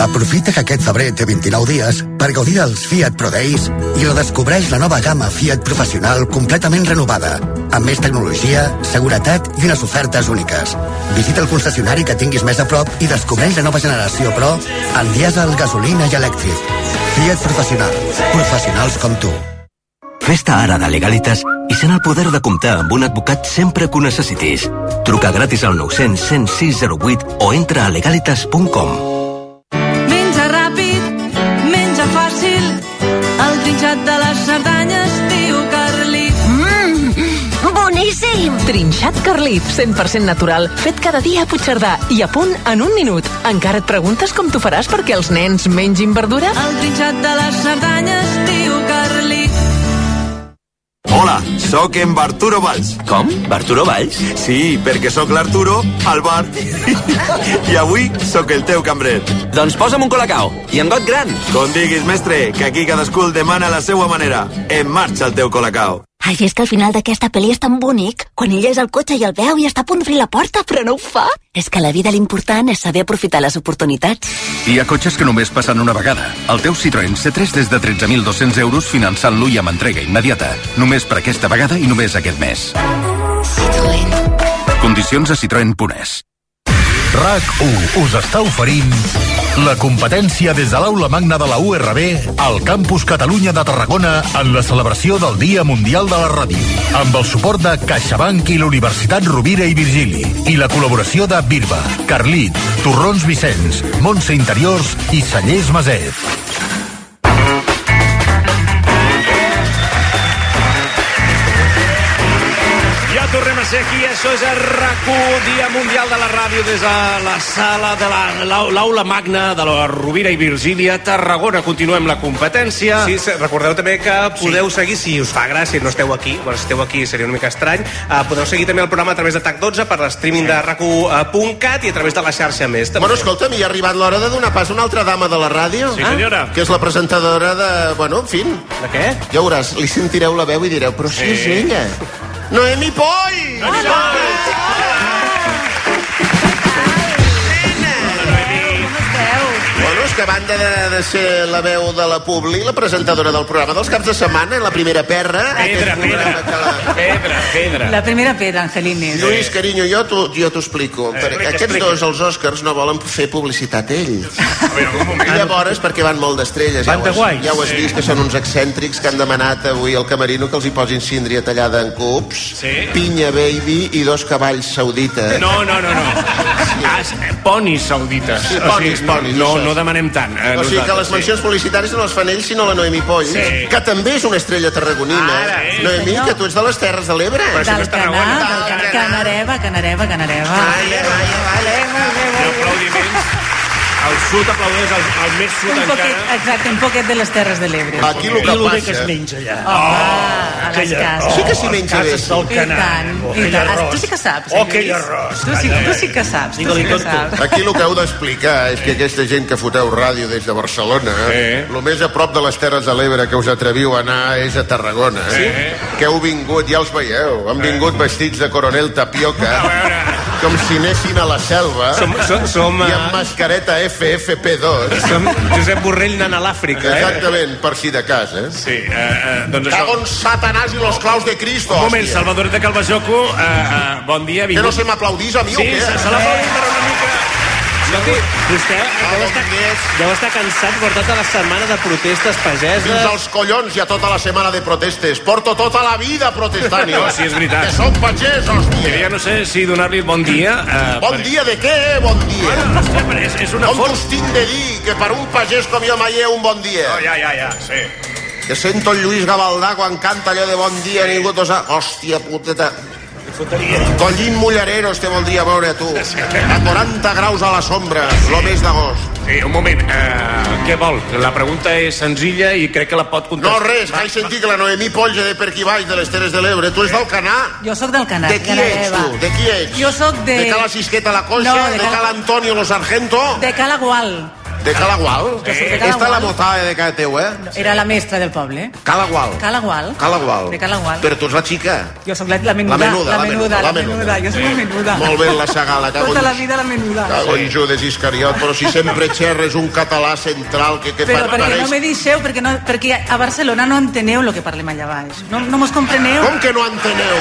Aprofita que aquest febrer té 29 dies per gaudir dels Fiat Pro Days i redescobreix la nova gamma Fiat professional completament renovada, amb més tecnologia, seguretat i unes ofertes úniques. Visita el concessionari que tinguis més a prop i descobreix la nova generació Pro en dièsel, gasolina i elèctric. Fiat Professional. Professionals com tu.
Festa ara de Legalitas i sent el poder de comptar amb un advocat sempre que ho necessitis. Truca gratis al 900 106 08 o entra a legalitas.com.
Menja ràpid, menja fàcil, el trinxat de les Cerdanyes diu Carli.
Mmm, boníssim!
Trinxat Carlit, 100% natural, fet cada dia a Puigcerdà i a punt en un minut. Encara et preguntes com t'ho faràs perquè els nens mengin verdura?
El trinxat de les Cerdanyes diu Carli.
Hola, sóc en Barturo Valls.
Com? Barturo Valls?
Sí, perquè sóc l'Arturo al bar. I avui sóc el teu cambrer.
Doncs posa'm un colacao i en got gran.
Com diguis, mestre, que aquí cadascú el demana a la seva manera. En marxa el teu colacao.
Ai, és que al final d'aquesta pel·li és tan bonic. Quan ell és al cotxe i el veu i està a punt d'obrir la porta, però no ho fa. És que a la vida l'important és saber aprofitar les oportunitats.
Hi ha cotxes que només passen una vegada. El teu Citroën C3 des de 13.200 euros finançant-lo i amb entrega immediata. Només per aquesta vegada i només aquest mes.
Citroën.
Condicions a Citroën.es.
RAC1 us està oferint la competència des de l'aula magna de la URB al Campus Catalunya de Tarragona en la celebració del Dia Mundial de la Ràdio amb el suport de CaixaBank i la Universitat Rovira i Virgili i la col·laboració de Birba, Carlit, Torrons Vicenç, Montse Interiors i Cellers Maset.
Ja tornem a ser aquí, això és el RAC1, Dia Mundial de la Ràdio, des de la sala de la- l'au- l'aula magna de la Rovira i Virgília, Tarragona. Continuem la competència.
Sí, se- recordeu també que podeu sí. seguir, si us fa gràcia i no esteu aquí, bueno, si esteu aquí seria una mica estrany, uh, podeu seguir també el programa a través de TAC12 per streaming sí. de racu.cat i a través de la xarxa més. També.
Bueno, escolta'm, ja ha arribat l'hora de donar pas a una altra dama de la ràdio. Eh?
Sí, senyora.
Que és la presentadora de... Bueno, en fi. De
què?
Ja veuràs, li sentireu la veu i direu, però si sí. és
Sí.
ella. Noemi Poll! Noemi Bueno, és que a banda de, de ser la veu de la Publi, la presentadora del programa dels caps de setmana, la primera perra...
Pedra,
aquest programa
pedra.
que la-
Pedra, pedra.
La primera pedra, Angelines.
Lluís, carinyo, jo t'ho jo t'ho explico. Eh,
explica,
Aquests
explica.
dos, els Oscars, no volen fer publicitat ells. I llavors, perquè van molt d'estrelles. Ja,
Van
ho
de
has-
guais.
ja ho has vist, que són uns excèntrics que han demanat avui al camerino que els hi posin síndria tallada en cubs, sí. pinya baby i dos cavalls saudites.
No, no, no, no. As, ponis saudites.
Sí,
O
ponis,
sigui, no-
ponis,
No,
això.
no demanem tant. eh,
o sigui que
nosaltres,
les mencions publicitàries no les fan ells, sinó la Noemi Poll,
Sí.
que també és una estrella tarragonina.
Ara, eh,
Noemi,
senyor.
que tu ets de les Terres de l'Ebre.
Del Canà, del Canà. Canareva, Canareva, Canareva.
El sud aplaudeix el, el més sud
Un
encara.
poquet, exacte, un poquet de les Terres de l'Ebre.
Aquí lo que
I lo bé
passa...
que es menja allà.
Oh, oh, a les
aquella-
cases.
Sí que s'hi menja bé,
cases
sí.
del
I
Canà.
tant,
Oh,
i
aquell
tant.
arròs.
Tu sí que saps.
Oh, aquell
Angelines.
arròs.
Tu sí,
Calla,
tu
eh.
sí que saps, tu
Digue-li
sí que
tot tu.
saps.
Aquí el que heu d'explicar és que aquesta gent que foteu ràdio des de Barcelona, el més a prop de les Terres de l'Ebre que us atreviu a anar és a Tarragona. eh?
Sí?
Que heu vingut, ja els veieu, han
Eh.
vingut vestits de coronel tapioca,
Ah,
com si anessin a la selva,
Som- som- som,
i
eh,
amb mascareta FFP2.
Som Josep Borrell anant a l'Àfrica, eh?
Exactament, per si de cas, eh?
Sí, eh, eh, doncs això...
Cago en Satanàs i los claus de Cristo,
Un moment,
hòstia.
Salvador de Calvajoco, eh, eh, bon dia.
Que no se m'aplaudís a mi
sí,
o què?
Sí, se, se l'aplaudís, eh, però una mica...
Escolti, vostè deu estar, deu estar cansat, portat a la setmana de protestes pageses.
Fins als collons ja tota la setmana de protestes. Porto tota la vida protestant. jo.
No, sí, és veritat.
Que som pagès, hòstia.
Ja no sé si donar-li bon dia. Eh,
Bon
per-
dia de què, eh? Bon dia.
Bueno, hòstia, però és, és una
Com us tinc de dir que per un pagès com jo mai hi ha un bon dia.
Oh, Ja, ja, ja, sí.
Que sento el Lluís Gavaldà quan canta allò de bon dia, ningú t'ho sap. Hòstia puteta. Collín Mullereros té vol dia veure tu. A 40 graus a la sombra, lo més d'agost.
Sí, un moment. Uh, què vol? La pregunta és senzilla i crec que la pot
No,
contestar.
res, vaig sentir que la Noemí Polge de per aquí baix de les Terres de l'Ebre. Tu és del Canà?
Jo sóc del Canà.
De qui ets tu? De qui ets?
Jo sóc de...
De Cala Sisqueta la Coixa?
No, de
de,
Cala-
Cala Antonio lo Sargento?
De Cala Gual.
De Cala Gual?
Jo sóc de Cala
Esta la
Gual.
motada de casa teu, eh?
Era la mestra del poble.
Cala Gual.
Cala Gual.
Cala Gual.
De Cala Gual.
Però tu ets la xica.
Jo sóc la, la menuda.
La menuda,
la
la menuda,
menuda. La
la menuda.
menuda. Jo sóc la menuda.
Molt bé, la Sagala, cago en-
Tota la vida la menuda.
Cago en Judes Iscariot, però si sempre xerres un català central que, que
Però perquè
pareix-
no me deixeu, perquè, no, perquè a Barcelona no enteneu el que parlem allà baix. No, no mos compreneu.
Com que no enteneu?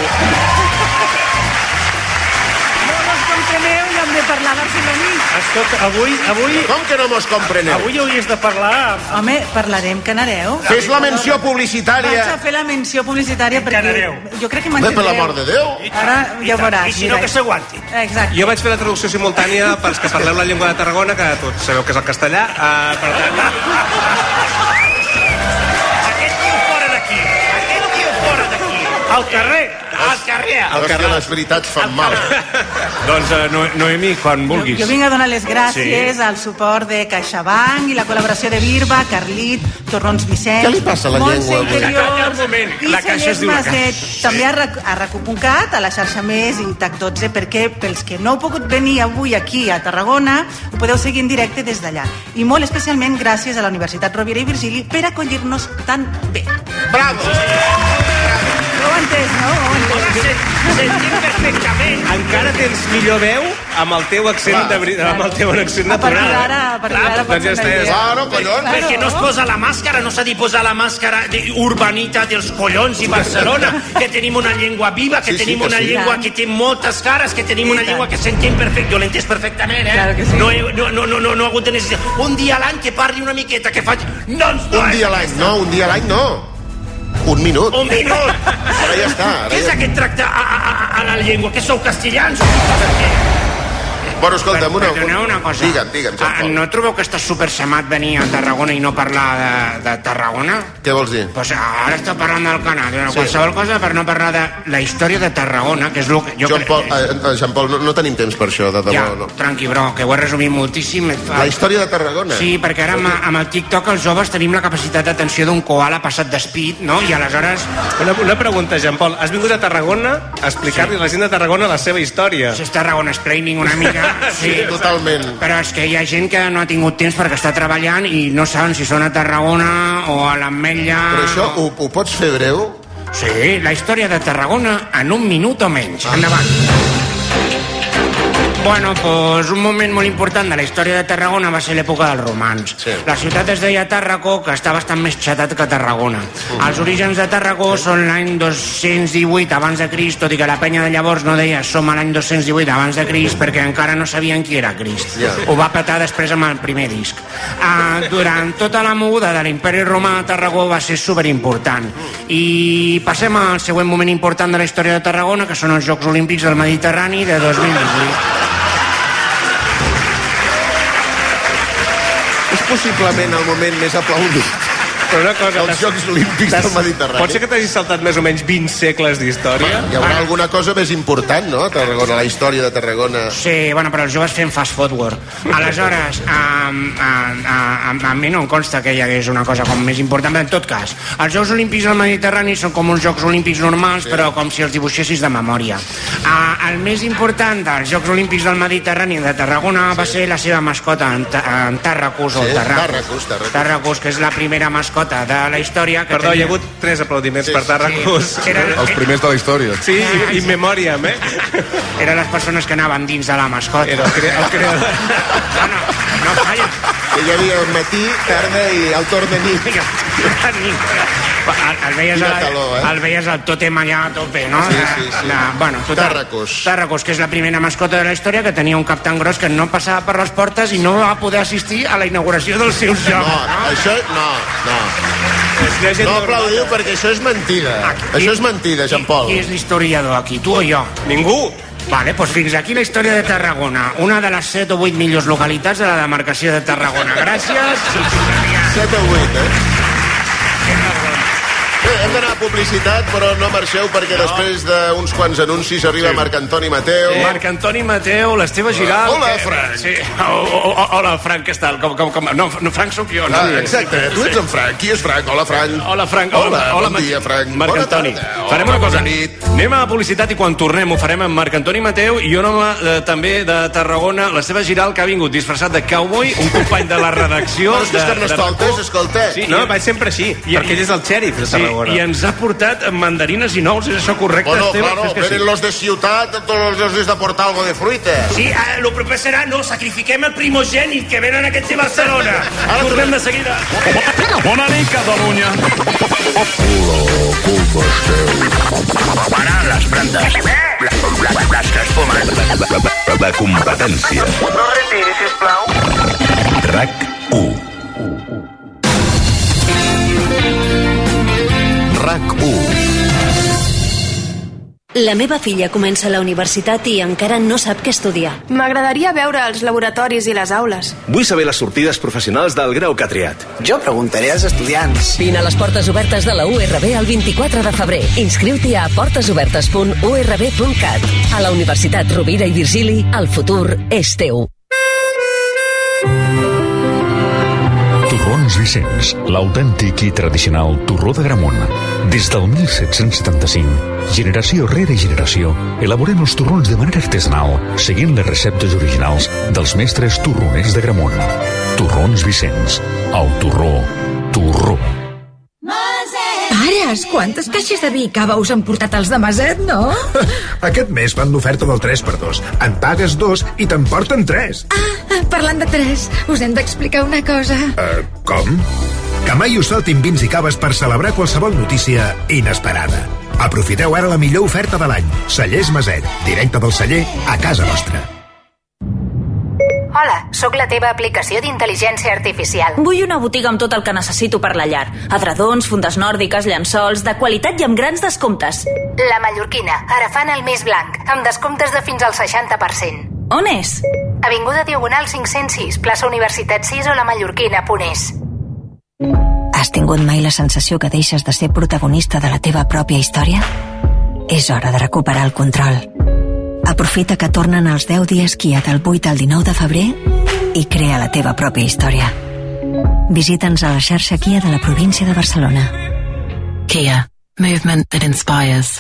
No mos compreneu i hem de parlar barceloní.
Escolta, avui... avui... Com que no mos compreneu?
Avui hauries de parlar... Home, parlarem canareu.
Fes la menció publicitària.
Vaig a fer la menció publicitària perquè... Canareu. Jo crec que
Bé,
m'enteneu.
per l'amor de Déu.
Ara
I
ja
tant.
veuràs.
I si no,
mira.
que s'aguanti.
Exacte.
Jo vaig fer la traducció simultània pels que parleu la llengua de Tarragona, que tots sabeu que és el castellà. Uh, per tant,
Fora d'aquí! Aquest tio fora d'aquí! Al carrer! Al carrer!
Al carrer les veritats fan mal.
Doncs
eh,
uh, no, Noemi, quan vulguis.
Jo vinc a donar les gràcies
Sí.
al suport de CaixaBank i la col·laboració de Birba, Carlit, Torrons Vicenç...
Què li passa a la
Eh? Montse
llengua avui? Calla
Interiors,
un moment,
i
la Caixa es diu la
Cellers Maset.
Caixa.
També a, rac, a rac.cat, a la xarxa més i TAC12, perquè pels que no heu pogut venir avui aquí a Tarragona, ho podeu seguir en directe des d'allà. I molt especialment gràcies a la Universitat Rovira i Virgili per acollir-nos tan bé.
Bravo!
Ho heu entès, no? Ho heu entès.
Sentim perfectament.
encara tens millor veu amb el teu accent, de, bri- amb el teu accent
A partir
natural. eh?
d'ara, a partir d'ara
doncs ja
pots anar
estàs.
bé.
Perquè no es posa la màscara, no s'ha de posar la màscara urbanita dels collons i Barcelona, que tenim una llengua viva, que
Sí, sí,
tenim
que
una
sí.
llengua que té moltes cares, que tenim una llengua que s'entén perfecte, jo l'entès perfectament, eh?
Claro que sí.
no, he, no, no, no, no, no he hagut de necessitat. Un dia a l'any que parli una miqueta, que faci... No ens
Un dia a l'any, no, un dia a l'any no. Un minut.
Un minut.
Ara ja està. Ara
Què és
ja...
aquest tracte a, a, a, a la llengua? Que sou castellans?
Bueno, escolta'm, una...
Perdoneu una cosa.
Digue'm, digue'm.
Ah, no trobeu que està supersemat venir a Tarragona i no parlar de, de Tarragona?
Què vols dir?
Pues ara està parlant del Canà,
Sí.
sí. qualsevol cosa per no parlar de la història de Tarragona, que és el que jo
Joan Paul, eh, eh, Jean Paul, no, no tenim temps per això, de debò.
Ja,
no.
tranqui, bro, que ho he resumit moltíssim.
La història de Tarragona.
Ah. Sí, perquè ara amb, amb el TikTok els joves tenim la capacitat d'atenció d'un koala passat d'espit, no? I aleshores...
Una, una pregunta, Jean Paul. Has vingut a Tarragona a explicar-li a la gent de Tarragona la seva història.
Això és Tarragona Explaining una mica.
Sí, totalment.
Però és que hi ha gent que no ha tingut temps perquè està treballant i no saben si són a Tarragona o a l'Ametlla...
Però això ho, ho pots fer breu?
Sí, la història de Tarragona en un minut o menys. Endavant. Bueno, pues un moment molt important de la història de Tarragona va ser l'època dels romans. Sí. La ciutat es deia Tàrraco, que està bastant més xatat que Tarragona. Mm. Els orígens de Tàrraco són l'any 218 abans de Crist, tot i que la penya de llavors no deia som a l'any 218 abans de Crist perquè encara no sabien qui era Crist.
Ja.
Ho va petar després amb el primer disc. Ah, durant tota la moguda de l'imperi romà, Tarragó va ser superimportant. I passem al següent moment important de la història de Tarragona, que són els Jocs Olímpics del Mediterrani de 2018.
És possiblement el moment més aplaudit.
Però una cosa...
Els Jocs Olímpics del Mediterrani.
Pot ser que t'hagis saltat més o menys 20 segles d'història?
Hi haurà alguna cosa més important, no, a Tarragona, la història de Tarragona.
Sí, bueno, però els joves fem fast forward. Aleshores, a, a, a, a, a mi no em consta que hi hagués una cosa com més important, però en tot cas, els Jocs Olímpics del Mediterrani són com uns Jocs Olímpics normals,
Sí.
sí. però com si els dibuixessis de memòria. A, el més important dels Jocs Olímpics del Mediterrani de Tarragona sí. va ser la seva mascota, en, Ta- en Tarracus,
Sí,
o Tarracus.
Tarracus, Tarracus.
Tarracus, que és la primera mascota de la història. Que
Perdó, hi
tenia-
ha hagut tres aplaudiments per Tarracus.
Sí, era-
Els primers de la història.
Sí, i, i memòria, eh?
Eren les persones que anaven dins de la mascota. Era el, cre
el creador.
No, no falla.
Que hi havia el matí, tarda i el torn de nit.
El, el, veies
Quina
al,
calor, eh?
el veies al tòtem allà a tope, no?
Sí, sí, sí.
La, bueno, total, Tarracos. Tarracos, que és la primera mascota de la història que tenia un cap tan gros que no passava per les portes i no va poder assistir a la inauguració dels seus jocs.
No, això... No, no.
gent
No
normal.
aplaudiu perquè això és mentida. Això és mentida, Jean Paul.
Qui és l'historiador aquí, tu o jo? Ningú. Vale, doncs fins aquí la història de Tarragona, una de les 7 o 8 millors localitats de la demarcació de Tarragona. Gràcies.
7 o 8, eh? Hem d'anar a publicitat, però no marxeu, perquè no. després d'uns quants anuncis arriba sí. Marc Antoni Mateu.
Sí. Marc Antoni Mateu, l'Esteve Giral...
Hola,
que-
Frank.
Sí. O- o- o- Hola, Frank, què tal? Com, com, com... No, no, Frank sóc jo. No?
Ah, exacte, tu ets en Frank. Qui és Frank? Hola, Frank.
Hola, Frank.
Hola,
hola
bon dia, Frank.
Marc
Bona
Antoni.
tarda.
Farem
Hola,
una cosa.
bona
Anem a la publicitat i quan tornem ho farem amb Marc Antoni Mateu i un home eh, també de Tarragona, la seva Giral, que ha vingut disfressat de cowboy, un company de la redacció...
No, és que és Carnestoltes, escolta.
Sí,
no,
i-
vaig sempre així, perquè ell és el xèrif de
Sí,
Tarragona.
i ens ha portat mandarines i nous, és això correcte,
Bueno,
Esteve?
claro,
Fes que sí.
venen los de ciutat, todos los días de portar algo de fruita.
Sí, ah, lo proper serà, no, sacrifiquem el primogènit que venen aquests de Barcelona.
Ara
Tornem de seguida.
Bona nit, Catalunya.
Parar les brandes. Les que es fumen.
La, la competència.
No retiri, sisplau.
RAC 1. RAC 1.
La meva filla comença la universitat i encara no sap què estudiar.
M'agradaria veure els laboratoris i les aules.
Vull saber les sortides professionals del grau que ha triat.
Jo preguntaré als estudiants.
Vine a les portes obertes de la URB el 24 de febrer. Inscriu-t'hi a portesobertes.urb.cat. A la Universitat Rovira i Virgili, el futur és teu.
Torrons Vicenç, l'autèntic i tradicional torró de Gramunt. Des del 1775, generació rere generació, elaborem els torrons de manera artesanal, seguint les receptes originals dels mestres torroners de Gramunt. Torrons Vicenç, el torró, torró.
Pares, quantes caixes de vi i cava us han portat els de Maset, no?
Aquest mes van l'oferta del 3x2. En pagues dos i te'n porten tres.
Ah, Parlant de tres, us hem d'explicar una cosa.
Eh, com? Que mai us saltin vins i caves per celebrar qualsevol notícia inesperada. Aprofiteu ara la millor oferta de l'any. Cellers Maset, directe del celler a casa vostra.
Hola, sóc la teva aplicació d'intel·ligència artificial.
Vull una botiga amb tot el que necessito per la llar. Adredons, fundes nòrdiques, llençols, de qualitat i amb grans descomptes.
La Mallorquina, ara fan el més blanc, amb descomptes de fins al 60%.
On és?
Avinguda Diagonal 506, plaça Universitat 6 o la Mallorquina, Ponés.
Has tingut mai la sensació que deixes de ser protagonista de la teva pròpia història? És hora de recuperar el control. Aprofita que tornen els 10 dies Kia del 8 al 19 de febrer i crea la teva pròpia història. Visita'ns a la xarxa Kia de la província de Barcelona.
Kia. Movement that inspires.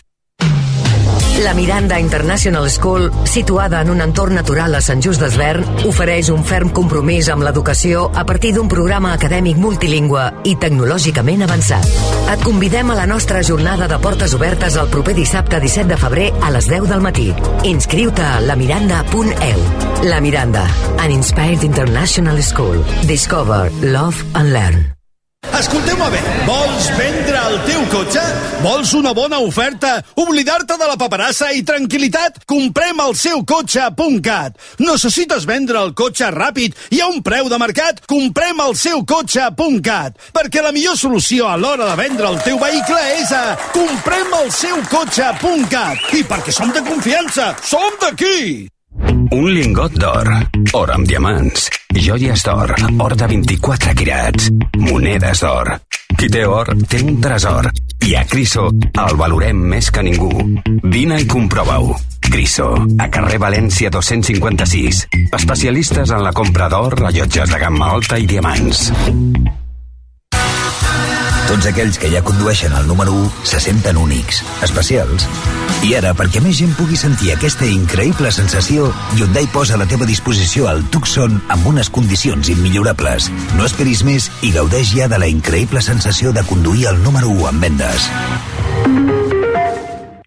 La Miranda International School, situada en un entorn natural a Sant Just d'Esvern, ofereix un ferm compromís amb l'educació a partir d'un programa acadèmic multilingüe i tecnològicament avançat. Et convidem a la nostra jornada de portes obertes el proper dissabte 17 de febrer a les 10 del matí. Inscriu-te a lamiranda.eu. La Miranda, an inspired international school. Discover, love and learn. Escolteu-me bé, vols vendre el teu cotxe? Vols una bona oferta? Oblidar-te de la paperassa i tranquil·litat? Comprem el seu cotxe.cat. Necessites vendre el cotxe ràpid i a un preu de mercat? Comprem el seu cotxe.cat. Perquè la millor solució a l'hora de vendre el teu vehicle és a comprem el seu cotxe.cat. I perquè som de confiança, som d'aquí!
Un lingot d'or, or amb diamants, joies d'or, or de 24 quirats, monedes d'or. Qui té or, té un tresor. I a Criso el valorem més que ningú. Vine i comprova-ho. Criso, a carrer València 256. Especialistes en la compra d'or, rellotges de gamma alta i diamants.
Tots aquells que ja condueixen el número 1 se senten únics, especials. I ara, perquè més gent pugui sentir aquesta increïble sensació, Hyundai posa a la teva disposició el Tucson amb unes condicions immillorables. No esperis més i gaudeix ja de la increïble sensació de conduir el número 1 en vendes.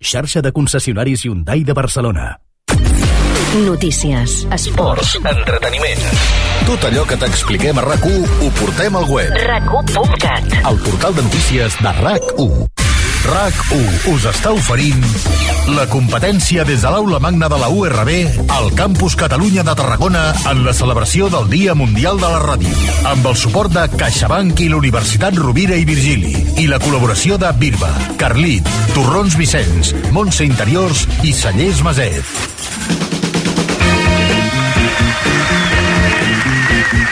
Xarxa de concessionaris Hyundai de Barcelona.
Notícies.
Esports, entreteniment.
Tot allò que t'expliquem a RAC1 ho portem al web.
RAC1.cat
El portal de notícies de RAC1.
RAC1 us està oferint la competència des de l'aula magna de la URB al Campus Catalunya de Tarragona en la celebració del Dia Mundial de la Ràdio amb el suport de CaixaBank i la Universitat Rovira i Virgili i la col·laboració de Birba, Carlit, Torrons Vicenç, Montse Interiors i Cellers Maset.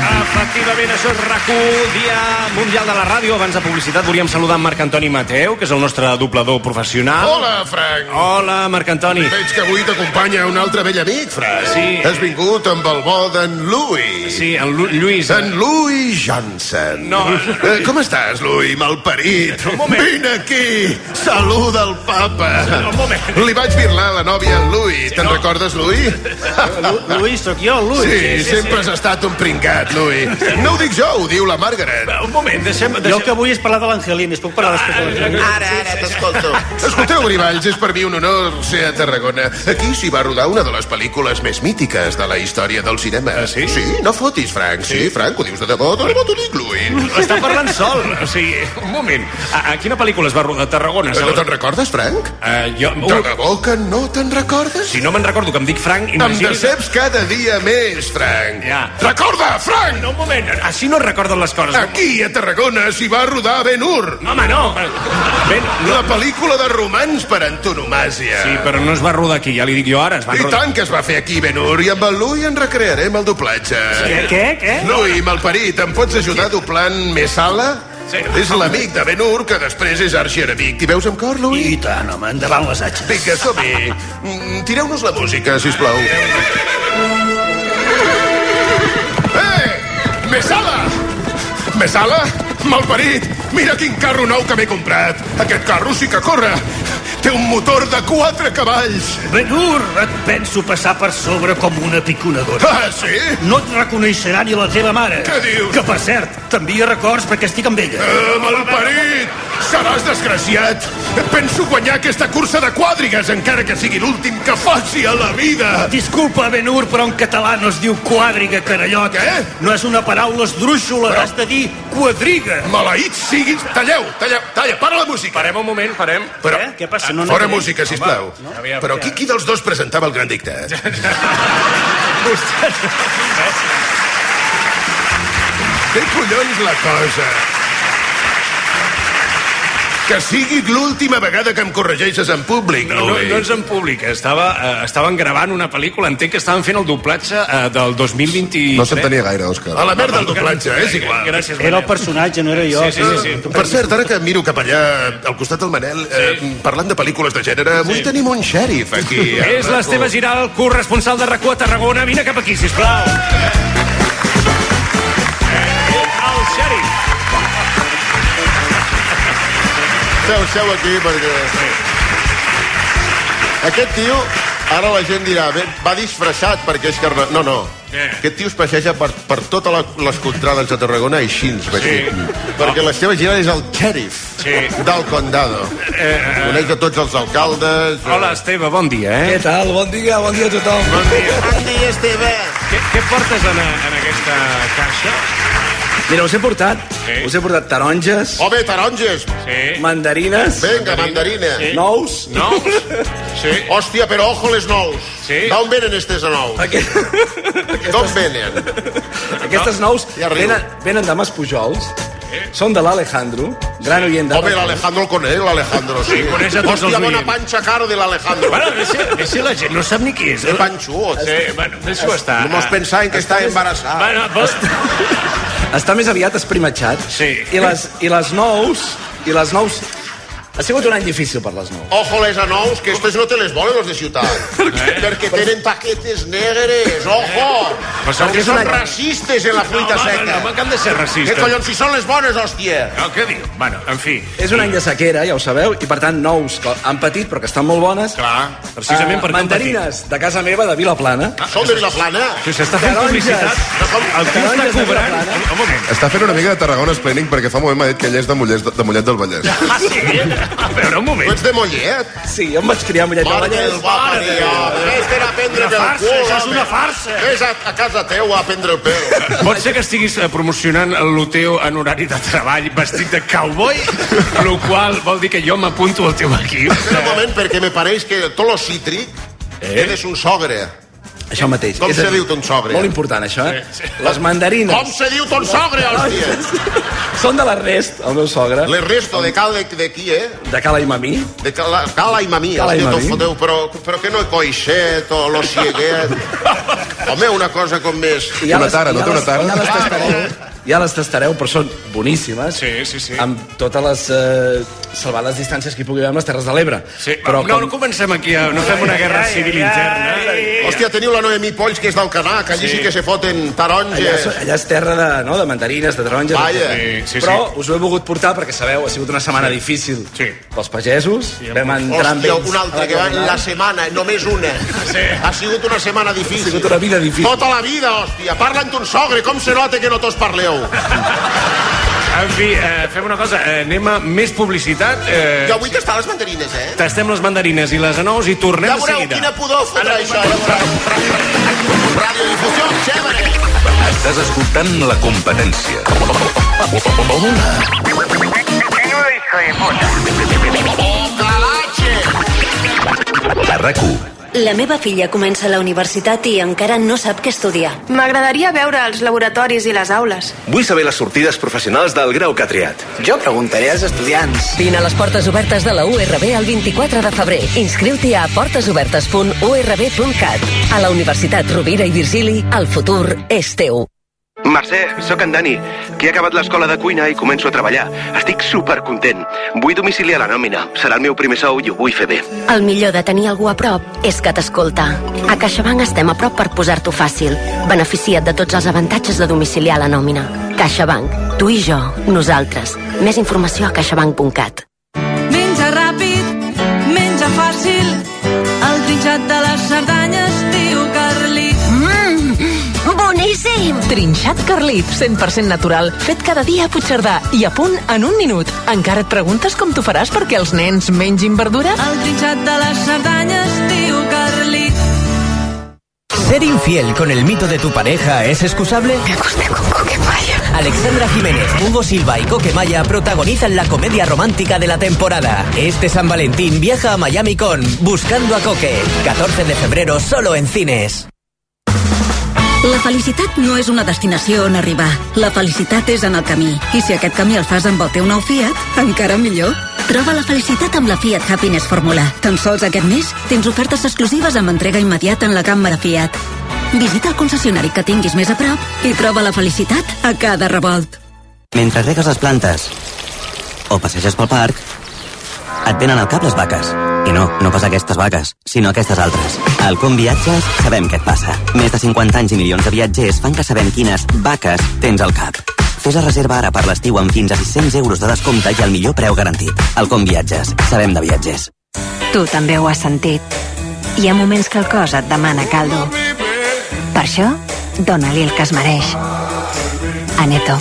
Efectivament, efectivament, això és rac Dia Mundial de la Ràdio. Abans de publicitat volíem saludar en Marc Antoni Mateu, que és el nostre doblador professional.
Hola, Frank.
Hola, Marc Antoni.
Veig que avui t'acompanya un altre vell amic, Frank.
Sí.
Has vingut amb el bo d'en Louis.
Sí, en Lu Lluís.
En Louis Johnson.
No.
Eh, com estàs, Louis, malparit?
Un moment.
Vine aquí, saluda el papa.
Un moment.
Li vaig birlar la nòvia en Louis. Sí, Te'n no. recordes, Louis?
Lluís, sóc jo, Lluís.
Sí, sí, sí, sempre has estat un pringat, Louis. No ho dic jo, ho diu la Margaret.
Un moment, deixem...
Jo el que vull és parlar de l'Angelina, es puc parlar després de l'Angelina?
Ara, ara, t'escolto.
Escolteu, Grimalls, és per mi un honor ser a Tarragona. Aquí s'hi va rodar una de les pel·lícules més mítiques de la història del cinema. Ah, sí? Sí, no fotis, Frank. Sí, sí Frank, ho dius de debò, Doncs de debò t'ho dic, Louis.
Està parlant sol. O sigui, un moment. A, a quina pel·lícula es va rodar a Tarragona?
Eh, No te'n recordes, Frank?
Uh, jo...
De debò que no te'n recordes?
Si no me'n recordo que em dic Frank,
Em
imagina't...
deceps cada dia més, Frank.
Ja.
Recorda, Frank!
No, un moment. Així no es recorden les coses.
Aquí, a Tarragona, s'hi va rodar Ben Hur.
Home, no. Ben, no.
La pel·lícula de romans per antonomàsia.
Sí, però no es va rodar aquí, ja li dic jo ara. Es va
eh. I
rodar...
tant que es va fer aquí, Ben Hur, i amb el Louis en recrearem el doblatge.
Què, què, què?
Louis, malparit, em pots ajudar doblant Messala?
Sí.
És l'amic de Ben Hur, que després és arxienemic. T'hi veus amb cor,
I
Louis?
tant, home, endavant les atxes.
Vinga, som-hi. Mm, Tireu-nos la música, sisplau. Eh! Messala! Messala? Malparit! Mira quin carro nou que m'he comprat! Aquest carro sí que corre! Té un motor de quatre cavalls!
Benur, et penso passar Ah, per sobre com una piconadora.
Ah, sí?
No et reconeixerà ni la teva mare.
Què dius?
Que, per cert, t'envia records perquè estic amb ella.
Eh, malparit! Seràs desgraciat! Penso guanyar aquesta cursa de quàdrigues, encara que sigui l'últim que faci a la vida!
Disculpa, Benur, però en català no es diu quadriga, carallot.
Què?
No és una paraula esdrúixola,
Però-
has de dir quadriga.
Maleïts siguis... Talleu, talleu, talla, para la música!
Parem un moment, parem.
Però...
Eh? Què passa? No
Fora
negaré.
música, sisplau.
Home, no?
Aviam,
Però
ja.
qui, qui dels dos presentava el gran dictat? Té collons la cosa. Que sigui l'última vegada que em corregeixes en públic,
No, no, no és en públic, estava, eh, estaven gravant una pel·lícula, entenc que estaven fent el doblatge eh, del 2023.
gaire, Òscar. A la merda el doblatge, Ah, és igual.
Gràcies,
Era el
Manel.
personatge, no era jo.
Sí, sí, sí, sí.
Per cert, ara que miro cap allà, al costat del Manel, eh, parlant de pel·lícules de gènere, avui tenim un xèrif aquí. eh?
És l'Esteve Giral, corresponsal de RAC1 a Tarragona. Vine cap aquí, sisplau. El xèrif.
Seu, seu aquí, perquè... Aquest tio, ara la gent dirà, "Bé, va disfressat perquè és carna... No, no.
Què?
Aquest tio es passeja per, per totes la- les contrades de Tarragona així, sí. perquè l'Esteve Giral és el xèrif
Sí. Eh.
del condado. Coneix de tots els alcaldes... eh,
Hola, Esteve, bon dia, eh?
Què tal? Bon dia, bon dia a tothom. Bon dia.
Bon dia, Esteve.
Què, què portes en, en aquesta caixa?
Mira, us he portat,
Sí.
us he portat taronges,
Oh, bé, taronges!
Sí.
mandarines,
Vinga, mandarina.
Sí.
nous...
No? Sí.
Hòstia, però ojo les nous.
Sí.
D'on venen estes nous?
Aquest...
D'on venen?
Aquestes nous
Ja riu.
venen, venen de Mas Pujols, són de l'Alejandro, gran oient de...
Home, l'Alejandro el coneix, l'Alejandro, sí.
coneix a tots
Hòstia,
els
bona
oients.
panxa cara de l'Alejandro.
Bueno, deixi, deixi la gent, no sap ni qui és. eh?
De panxú,
Sí, bueno, deixa-ho estar.
Hemos pensado en que está embarazada.
Bueno, vos...
Està més aviat esprimatxat.
Sí.
I les, I les nous... I les nous... Ha sigut un any difícil per les nous.
Ojo les a nous, que estos no te les volen los de ciutat. Eh? Perquè tenen paquetes negres, ojo!
Eh? Però segur
Perquè
que
són
una-
racistes en la fruita
home,
seca.
No, home, que han de ser
Què
racistes.
collons, si són les bones, hòstia!
No, què diu? Bueno, en fi.
És un any de sequera, ja ho sabeu, i per tant nous que han patit però que estan molt bones.
Clar, precisament
Eh,
per
Mandarines de casa meva, de Vilaplana.
Són de Vilaplana?
Si s'està fent
Taronges.
publicitat, el tio està
Taronges de
cobrant...
Vilaplana.
Un moment.
Està fent una mica de Tarragona Explaining perquè fa un moment m'ha dit que ell és de Mollet, de Mollet del Vallès.
Ah, sí? A veure, un
Tu
moment.
ets de Mollet?
Sí, jo em vaig criar a Mollet del
Mare del
Vallès.
papa, tio! Vés per a prendre
Una
pel
farsa,
cul,
això és
home.
una farsa.
Vés a, a casa teva a prendre el pèl.
Pot ser que estiguis eh, promocionant el teu en horari de treball vestit de cowboy, el qual vol dir que jo m'apunto al teu equip.
Espera un moment, perquè me pareix que tot lo cítric eh? eres un sogre.
Això mateix.
Com
És a
se
dir,
diu ton sogre?
Molt important, això, eh?
Sí, sí.
Les mandarines
Com se diu ton sogre, hòstia?
són de la rest, el meu sogre,
Les resto de cal de, de qui, eh?
de Cala i Mamí.
De cala, cala i mamí,
Cala i
hòstia, te'l
mamí.
foteu, però, però que no coixet o lo cieguet. Home, una cosa com més...
I hi ha
Té una
les-
tara,
hi
no
ha
té una
les-
tara?
Ah,
Hi ha les testaroles, hi
ja les tastareu, però són boníssimes.
Sí, sí, sí.
Amb totes les... Eh, salvant les distàncies que hi pugui haver amb les Terres de l'Ebre.
Sí, però no, com... no comencem aquí, a- no fem una guerra civil interna.
Hòstia, teniu la Noemí Polls, que és d'Alcanar, que allí sí. sí que se foten
Allà,
taronges.
és- allà és terra de, no, de mandarines, de taronges...
Vaja.
etcètera.
Sí, sí,
Però
sí.
us ho he volgut portar perquè sabeu, ha sigut una setmana difícil sí. pels pagesos. Sí, Vam entrar amb
Hòstia,
ells...
un altre que va la setmana, eh, només una. Sí. Ha sigut una setmana difícil. Ha sigut una
vida difícil.
Tota la vida, hòstia. Parla'n ton sogre, com se nota que no tots parleu.
En fi, eh, fem una cosa, eh, anem a més publicitat. Eh,
Jo vull tastar les mandarines, eh?
Tastem les mandarines i les anous i tornem
Ja
de
veureu
seguida.
quina pudor fotrà això. Ja veureu. Radiodifusió, chévere.
Estàs escoltant la competència.
A rac
La meva filla comença la universitat i encara no sap què estudiar.
M'agradaria veure els laboratoris i les aules.
Vull saber les sortides professionals del grau que ha triat.
Jo preguntaré als estudiants.
Vine a les portes obertes de la URB el 24 de febrer. Inscriu-t'hi a portesobertes.urb.cat. A la Universitat Rovira i Virgili, el futur és teu.
Mercè, sóc en Dani, que he acabat l'escola de cuina i començo a treballar. Estic supercontent. Vull domiciliar la nòmina. Serà el meu primer sou i ho vull fer bé.
El millor de tenir algú a prop és que t'escolta. A CaixaBank estem a prop per posar-t'ho fàcil. Beneficia't de tots els avantatges de domiciliar la nòmina. CaixaBank. Tu i jo. Nosaltres. Més informació a caixabank.cat.
Menja ràpid, menja fàcil. El trinxat de les Cerdanyes diu Carlit.
Mmm, boníssim! Trinxat Carlit, 100% natural, fet cada dia a Puigcerdà i a punt en un minut. Encara et preguntes com t'ho faràs perquè els nens mengin verdura?
El trinxat de les Cerdanyes diu Carlit.
¿Ser infiel con el mito de tu pareja es excusable? Me acosté con Coquemaya. Alexandra Jiménez, Hugo Silva y Coquemaya protagonizan la comedia romántica de la temporada. Este San Valentín viaja a Miami con Buscando a Coque. 14 de febrero solo en cines.
La felicitat no és una destinació on arribar. La felicitat és en el camí. I si aquest camí el fas amb el teu nou Fiat, encara millor. Troba la felicitat amb la Fiat Happiness Fórmula. Tan sols aquest mes tens ofertes exclusives amb entrega immediata en la càmera Fiat. Visita el concessionari que tinguis més a prop i troba la felicitat a cada revolt.
Mentre regues les plantes o passeges pel parc, et venen al cap les vaques. I no, no pas aquestes vaques, sinó aquestes altres. Al Com Viatges sabem què et passa. Més de 50 anys i milions de viatgers fan que sabem quines vaques tens al cap. Fes la reserva ara per l'estiu amb fins a 600 euros de descompte i el millor preu garantit. Al Com Viatges. Sabem de viatgers.
Tu també ho has sentit. Hi ha moments que el cos et demana caldo. Per això, dóna-li el que es mereix. Aneto.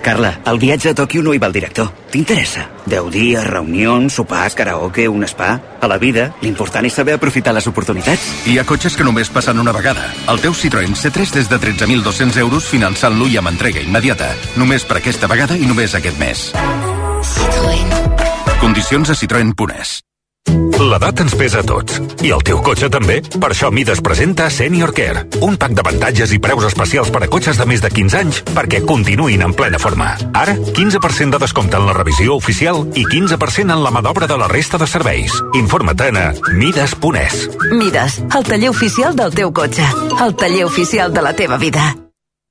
Carla, el viatge a Tòquio no hi va el director. T'interessa? Deu dies, reunions, sopars, karaoke, un spa... A la vida, l'important és saber aprofitar les oportunitats.
Hi ha cotxes que només passen una vegada. El teu Citroën C3 des de 13.200 euros finançant-lo i amb entrega immediata. Només per aquesta vegada i només aquest mes. Condicions a Citroën Punès.
L'edat ens pesa a tots. I el teu cotxe també. Per això Mides presenta Senior Care. Un pack d'avantatges i preus especials per a cotxes de més de 15 anys perquè continuïn en plena forma. Ara, 15% de descompte en la revisió oficial i 15% en la mà d'obra de la resta de serveis. Informa't-en a mides.es.
Mides, el taller oficial del teu cotxe. El taller oficial de la teva vida.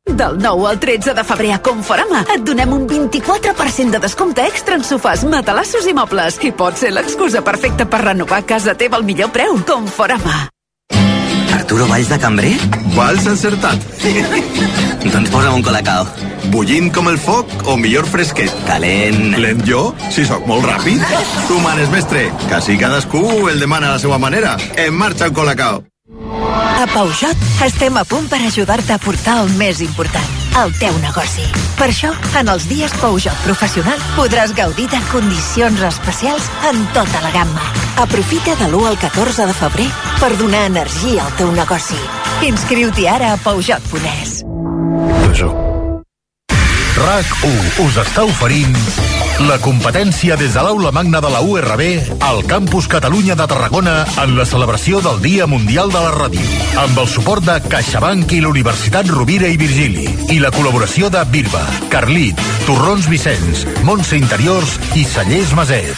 Del 9 al 13 de febrer a Conforama et donem un 24% de descompte extra en sofàs, matalassos i mobles. I pot ser l'excusa perfecta per renovar casa teva al millor preu. Conforama.
Arturo Valls de Cambrer?
Vals encertat.
doncs posa'm un colacao.
Bullint com el foc o millor fresquet?
Calent.
Lent jo? Si sóc molt ràpid. Tu manes, mestre. Quasi cadascú el demana a la seva manera. En marxa el colacao.
A Peugeot estem a punt per ajudar-te a portar el més important, el teu negoci. Per això, en els dies Peugeot Professional podràs gaudir de condicions especials en tota la gamma. Aprofita de l'1 al 14 de febrer per donar energia al teu negoci. Inscriu-t'hi ara a Peugeot Ponès.
RAC1 us està oferint la competència des de l'aula magna de la URB al Campus Catalunya de Tarragona en la celebració del Dia Mundial de la Ràdio amb el suport de CaixaBank i la Universitat Rovira i Virgili i la col·laboració de Birba, Carlit, Torrons Vicenç, Montse Interiors i Sallés Maset.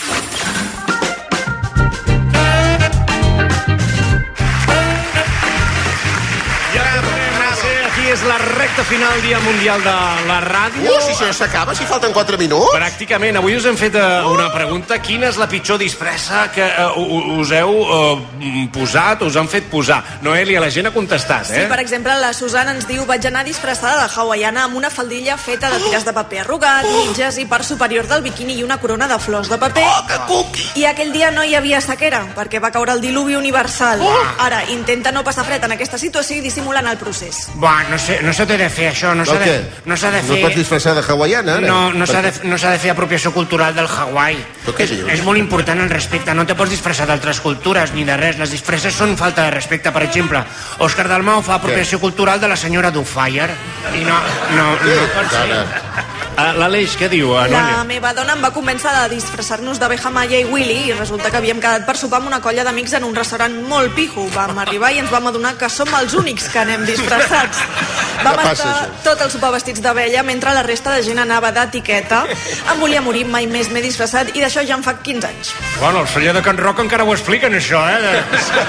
Gracias, aquí es
és la recta final dia mundial de la ràdio.
Ui, Uh, si això ja s'acaba, si falten 4 minuts.
Pràcticament. Avui us hem fet eh, una pregunta. Quina és la pitjor disfressa que eh, u- us heu eh, posat, us han fet posar? Noelia, la gent ha contestat,
Sí,
eh?
per exemple, la Susana ens diu vaig anar disfressada de hawaiana amb una faldilla feta de tires de paper arrugat, mitges i part superior del biquini i una corona de flors de paper. I aquell dia no hi havia sequera, perquè va caure el diluvi universal. Ara, intenta no passar fred en aquesta situació i dissimulant el procés.
Buah, no, sé, no s'ha de fer això, no s'ha
Del
de,
què?
no s'ha de
No
fer...
et pots disfressar de hawaiana, ara?
No, no s'ha de,
Perquè-
no s'ha de fer apropiació cultural del Hawaii.
Però què dius?
És molt important el respecte, no te pots disfressar d'altres cultures ni de res. Les disfresses són falta de respecte, per exemple. Òscar Dalmau fa apropiació cultural de la senyora Dufire i no, no, no pot ser.
Ah, L'Aleix, què diu? eh,
La
Noelia?
meva dona em va convèncer de disfressar-nos de Beja Maya i Willy i resulta que havíem quedat per sopar amb una colla d'amics en un restaurant molt pijo. Vam arribar i ens vam adonar que som els únics que anem disfressats. Vam
Ja passa,
estar tot el sopar vestits d'abella mentre la resta de gent anava d'etiqueta. Em volia morir, mai més m'he disfressat i d'això ja en fa 15 anys.
Bueno, el celler de Can Roc encara ho expliquen, això, eh?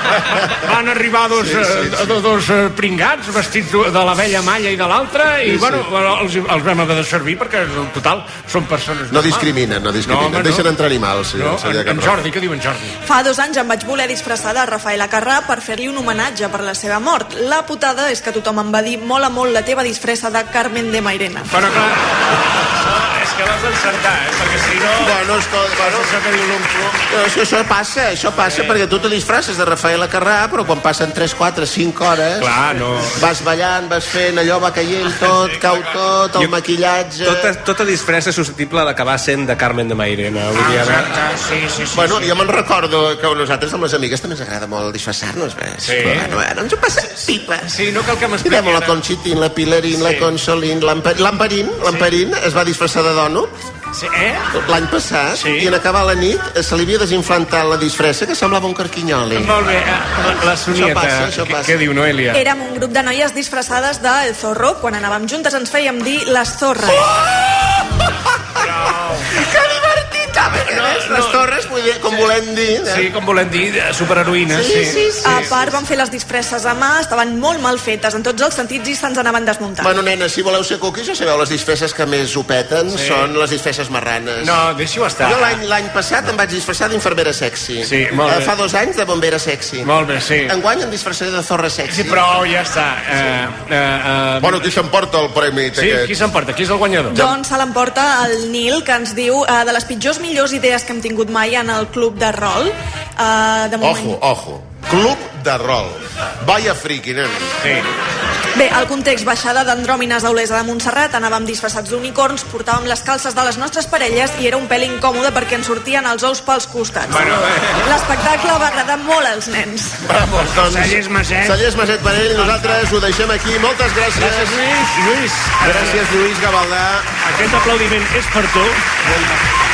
Van arribar dos, sí, sí, sí. dos, dos eh, pringats vestits de de la vella malla i de l'altra i,
Sí, sí.
bueno, els, els vam haver de servir perquè, en total, són persones...
No
normals.
discriminen, no discriminen.
home,
Deixen entrar animals, sí,
no,
el celler de
en,
Can
en
Roc.
Jordi, què diu en Jordi?
Fa dos anys em vaig voler disfressar de Rafaela Carrà per fer-li un homenatge per la seva mort. La putada és que tothom em va dir molt a molt la teva disfressa de Carmen de Mairena.
Però clar... És que l'has d'encertar, eh? Perquè si no...
Bueno, escolta, bueno.
Això que diu l'Omplo...
Això, això passa, això passa, perquè tu te disfresses de Rafaela Carrà, però quan passen 3, 4, 5 hores...
Clar, no.
Vas ballant, vas fent, allò va caient tot, cau tot, el maquillatge...
Tota, tota disfressa és susceptible d'acabar sent de Carmen de
Ah,
Mairena. Vull
Ah,
dir, ara...
Exacte, sí, sí, sí.
eh? Bueno,
sí.
jo me'n recordo que a nosaltres amb les amigues també ens agrada molt disfressar-nos. Sí. Bueno, bueno, ens ho passem pipa.
Sí, no cal que m'expliqui.
Mirem la Conchitin, la Pilarín, sí. la Consolín, l'Ampa- l'Amperín, l'Amperín es va disfressar de Donut
Sí, eh?
l'any passat sí. i en acabar la nit eh, se li havia desinflantat la disfressa que semblava un carquinyoli.
Molt bé, eh, la Sonieta,
Això passa, això
què-
passa.
què diu, Noelia?
Érem un grup de noies disfressades de El Zorro. Quan anàvem juntes ens fèiem dir Les Zorres.
Oh!
Que divertit! A veure, ves, les torres, vull dir, com volem dir... eh?
Sí, com volem dir, eh, superheroïnes, sí.
A part, van fer les disfresses a mà, estaven molt mal fetes en tots els sentits i se'ns anaven desmuntant.
Bueno, nena, si voleu ser cookies, ja sabeu, les disfresses que més ho peten
Sí.
sí. són les disfresses marranes.
No, deixi-ho estar.
Jo l'any l'any passat em vaig disfressar d'infermera sexy.
Sí, molt
Eh,
bé.
Fa dos anys de bombera sexy.
Molt bé, sí.
Enguany em disfressaré de zorra sexy.
Sí, prou, ja està. Eh, eh, eh,
Bueno, qui s'emporta el premi?
Sí,
aquest?
qui s'emporta? Qui és el guanyador?
Doncs se l'emporta el Nil, que ens diu eh, de les pitjors millors idees que hem tingut mai en el club de rol. Eh, de moment...
Ojo, ojo. Club de rol. Vaya friki, nen.
Sí.
Bé, el context, baixada d'andròmines a Olesa de Montserrat, anàvem disfressats d'unicorns, portàvem les calces de les nostres parelles i era un pèl incòmode perquè ens sortien els ous pels costats.
Bueno,
L'espectacle va agradar molt als nens.
Vamos, doncs...
Cellers Maset.
Cellers Maset per ell. Nosaltres ho deixem aquí. Moltes gràcies.
Gràcies, Lluís. Lluís.
Gràcies, Lluís Gavaldà.
Aquest aplaudiment és per tu.